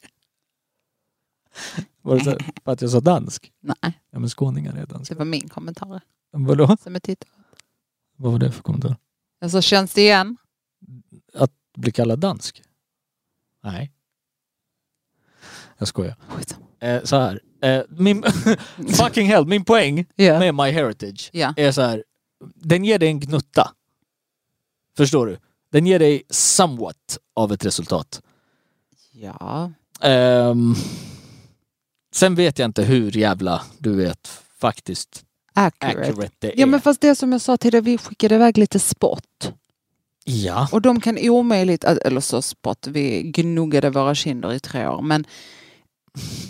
S2: Var det så här, för att jag sa dansk?
S1: Nej,
S2: Ja men skåningar är
S1: det
S2: danska.
S1: var min kommentar
S2: Men Vadå?
S1: som jag tittade
S2: Vad var det för kommentar?
S1: Alltså känns det igen?
S2: Bli kallad dansk? Nej. Jag skojar.
S1: Skitsamma.
S2: Eh, så här. Eh, min, fucking hell, min poäng
S1: Ja.
S2: med My Heritage
S1: Ja.
S2: är så här. Den ger dig en gnutta. Förstår du? Den ger dig somewhat av ett resultat.
S1: ja.
S2: Ehm, sen vet jag inte hur jävla, du vet, faktiskt
S1: Accurate.
S2: accurate det är.
S1: Ja men fast det som jag sa till dig, vi skickade iväg lite spott.
S2: ja.
S1: Och de kan omöjligt, att- eller så spott, vi gnuggade våra kinder i tre år. Men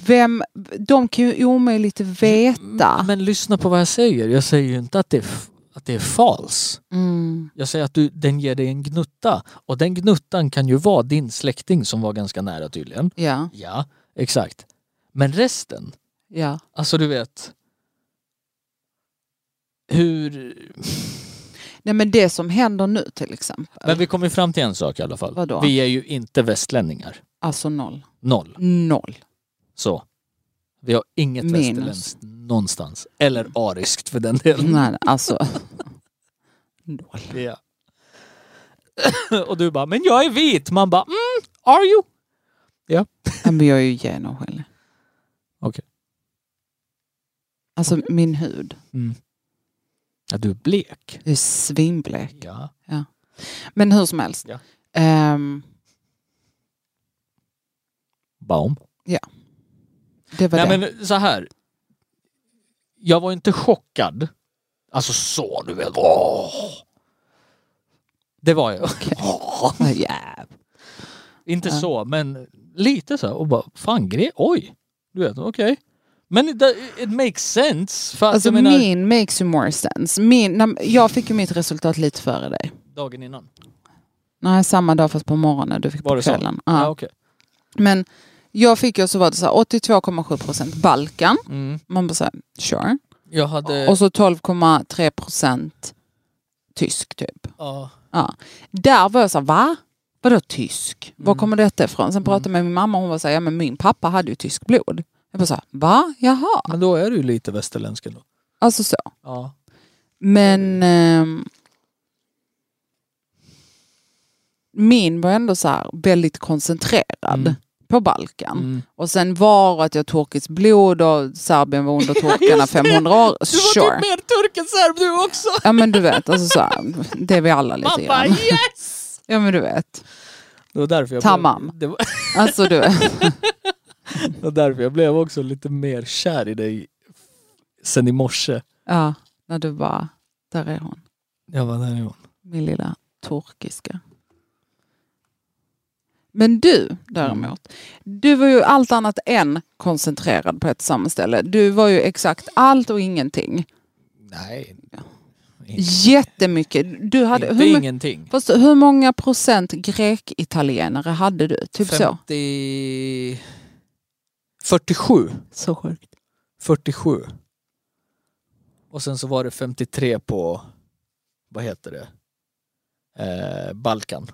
S1: vem, de kan ju omöjligt veta.
S2: Men lyssna på vad jag säger. Jag säger ju inte att det är, f- att det är fals.
S1: Mm.
S2: Jag säger att du, den ger dig en gnutta. Och den gnuttan kan ju vara din släkting som var ganska nära tydligen.
S1: Ja,
S2: Ja, exakt. Men resten,
S1: ja.
S2: alltså du vet. Hur...
S1: Nej men det som händer nu till exempel.
S2: Men vi kommer fram till en sak i alla fall.
S1: Vadå?
S2: Vi är ju inte västlänningar.
S1: Alltså noll.
S2: Noll.
S1: Noll.
S2: Så. Vi har inget
S1: Minus.
S2: västerländskt någonstans. Eller ariskt för den delen.
S1: Nej, alltså. Noll.
S2: Ja. Och du bara, men jag är vit! Man bara, mm, are you?
S1: Nej, Men jag är ju genomskinlig.
S2: Okej.
S1: Alltså min hud
S2: Ja, du är blek.
S1: är svinblek.
S2: Ja.
S1: Men hur som helst.
S2: Ja.
S1: Ehm,
S2: Baum.
S1: det var det.
S2: Nej men så här. Jag var inte chockad. Alltså så du vet. Åh. Det var jag. Åh.
S1: Men... Yeah.
S2: Inte
S1: Ja.
S2: så, men lite så. här. Och bara, fan grej, oj. Du vet, okej. Men det, it makes sense. För att
S1: Alltså
S2: jag menar,
S1: min makes you more sense. Min, när- jag fick ju mitt resultat lite före dig.
S2: dagen innan.
S1: Nej, samma dag fast på morgonen. Du fick
S2: Var
S1: på
S2: det så?
S1: kvällen.
S2: Ja,
S1: Ja.
S2: okej.
S1: Men jag fick ju så var det så här 82,7 procent Balkan.
S2: Mm.
S1: Man bara så här, sure.
S2: Jag hade...
S1: Och så 12,3 procent tysk typ.
S2: ja.
S1: Ja. Där var jag så här, va? Vadå tysk?
S2: Mm.
S1: Var kommer detta ifrån? Sen pratade jag med min mamma och hon var så här, ja men min pappa hade ju tysk blod. Jag bara så här, va? Jaha.
S2: Men då är du ju lite västerländsk ändå.
S1: Alltså så.
S2: Ja.
S1: Men ehm, min var ändå så här väldigt koncentrerad
S2: Mm.
S1: på Balkan.
S2: Mm.
S1: Och sen var att jag turkiskt blod och Serbien var under turkarna
S2: just det.
S1: 500 år.
S2: Du var
S1: Sure.
S2: typ mer turk än serb du också!
S1: Ja men du vet, alltså så här, det är vi alla lite
S2: Man bara
S1: grann.
S2: yes!
S1: Ja men du vet.
S2: Det var därför jag
S1: Tamam.
S2: Blev, det, var,
S1: Alltså du vet.
S2: det var därför jag blev också lite mer kär i dig sen i morse.
S1: Ja, när du bara, där är hon,
S2: Jag var där är hon.
S1: min lilla turkiska. Men du däremot, du var ju allt annat än koncentrerad på ett sammanställe. Du var ju exakt allt och ingenting.
S2: Nej,
S1: Jättemycket. Du hade,
S2: inte
S1: hur, mu-
S2: ingenting.
S1: fast hur många procent grekitalienare hade du? Typ så.
S2: 50... 47.
S1: Så sjukt.
S2: 47. Och sen så var det 53 på, vad heter det, eh, Balkan.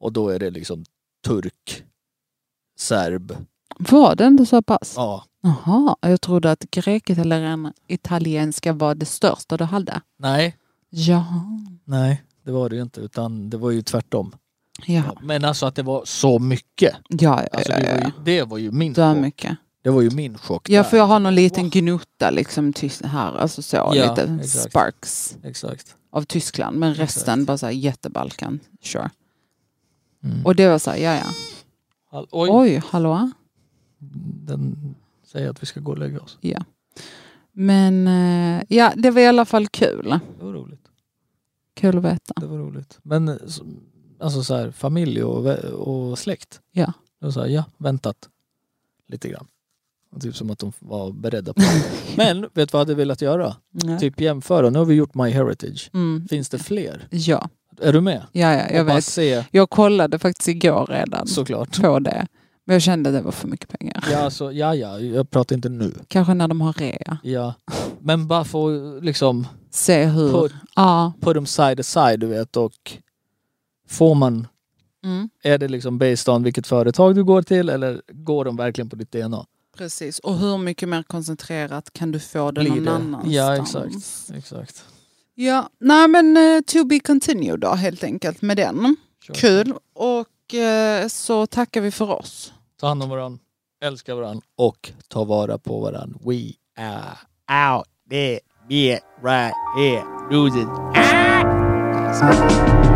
S2: Och då är det liksom turk, serb,
S1: Var det inte så pass?
S2: ja,
S1: Jaha, jag trodde att grekitalienska var det största du hade.
S2: nej,
S1: Jaha.
S2: nej, det var det ju inte, utan det var ju tvärtom.
S1: Ja,
S2: Men alltså att det var så mycket,
S1: ja, ja.
S2: alltså
S1: ja,
S2: det,
S1: ja,
S2: var
S1: ja.
S2: ju, det var ju min
S1: Så
S2: chock.
S1: mycket.
S2: Det var ju min chock.
S1: Ja,
S2: där.
S1: för jag har någon liten gnutta liksom tyst här, alltså så
S2: Ja,
S1: lite
S2: exakt.
S1: sparks
S2: Exakt.
S1: av Tyskland, men resten
S2: Exakt.
S1: bara så här jättebalkan. Sure.
S2: Mm.
S1: Och det var så här, ja ja.
S2: Hall- Oj,
S1: Oj, hallå?
S2: den säger att vi ska gå och lägga oss.
S1: Men eh, ja, det var i alla fall kul.
S2: Det var roligt.
S1: Kul att veta.
S2: Det var roligt. Men eh, så- alltså så här, familj och, vä- och släkt.
S1: Ja.
S2: Det var så här, ja, väntat. Lite grann. Och Typ som att de var beredda på det. Men vet du vad jag hade velat göra?
S1: Ja.
S2: Typ jämföra. Nu har vi gjort My Heritage.
S1: Mm.
S2: Finns det fler?
S1: Ja,
S2: Är du med?
S1: ja, ja jag
S2: och bara
S1: vet.
S2: se,
S1: Jag kollade faktiskt igår redan
S2: såklart.
S1: på det. Men jag kände att det var för mycket pengar.
S2: Ja, alltså, ja, ja, jag pratar inte nu.
S1: Kanske när de har rea.
S2: Ja. Men bara få liksom
S1: Se hur...
S2: put,
S1: Ja.
S2: put them side to side, du vet. Och får man,
S1: Mm.
S2: är det liksom based on vilket företag du går till eller går de verkligen på ditt DNA?
S1: Precis, och hur mycket mer koncentrerat kan du få det
S2: Blir
S1: någon
S2: det.
S1: annanstans?
S2: Ja, exakt. Exakt.
S1: Ja, nej men eh, to be continued då helt enkelt med den.
S2: Kör.
S1: Kul. Och eh, så tackar vi för oss.
S2: Ta hand om varandra, älska varandra och ta vara på varandra. We are
S3: out there, be it right here, losing.
S1: Smart.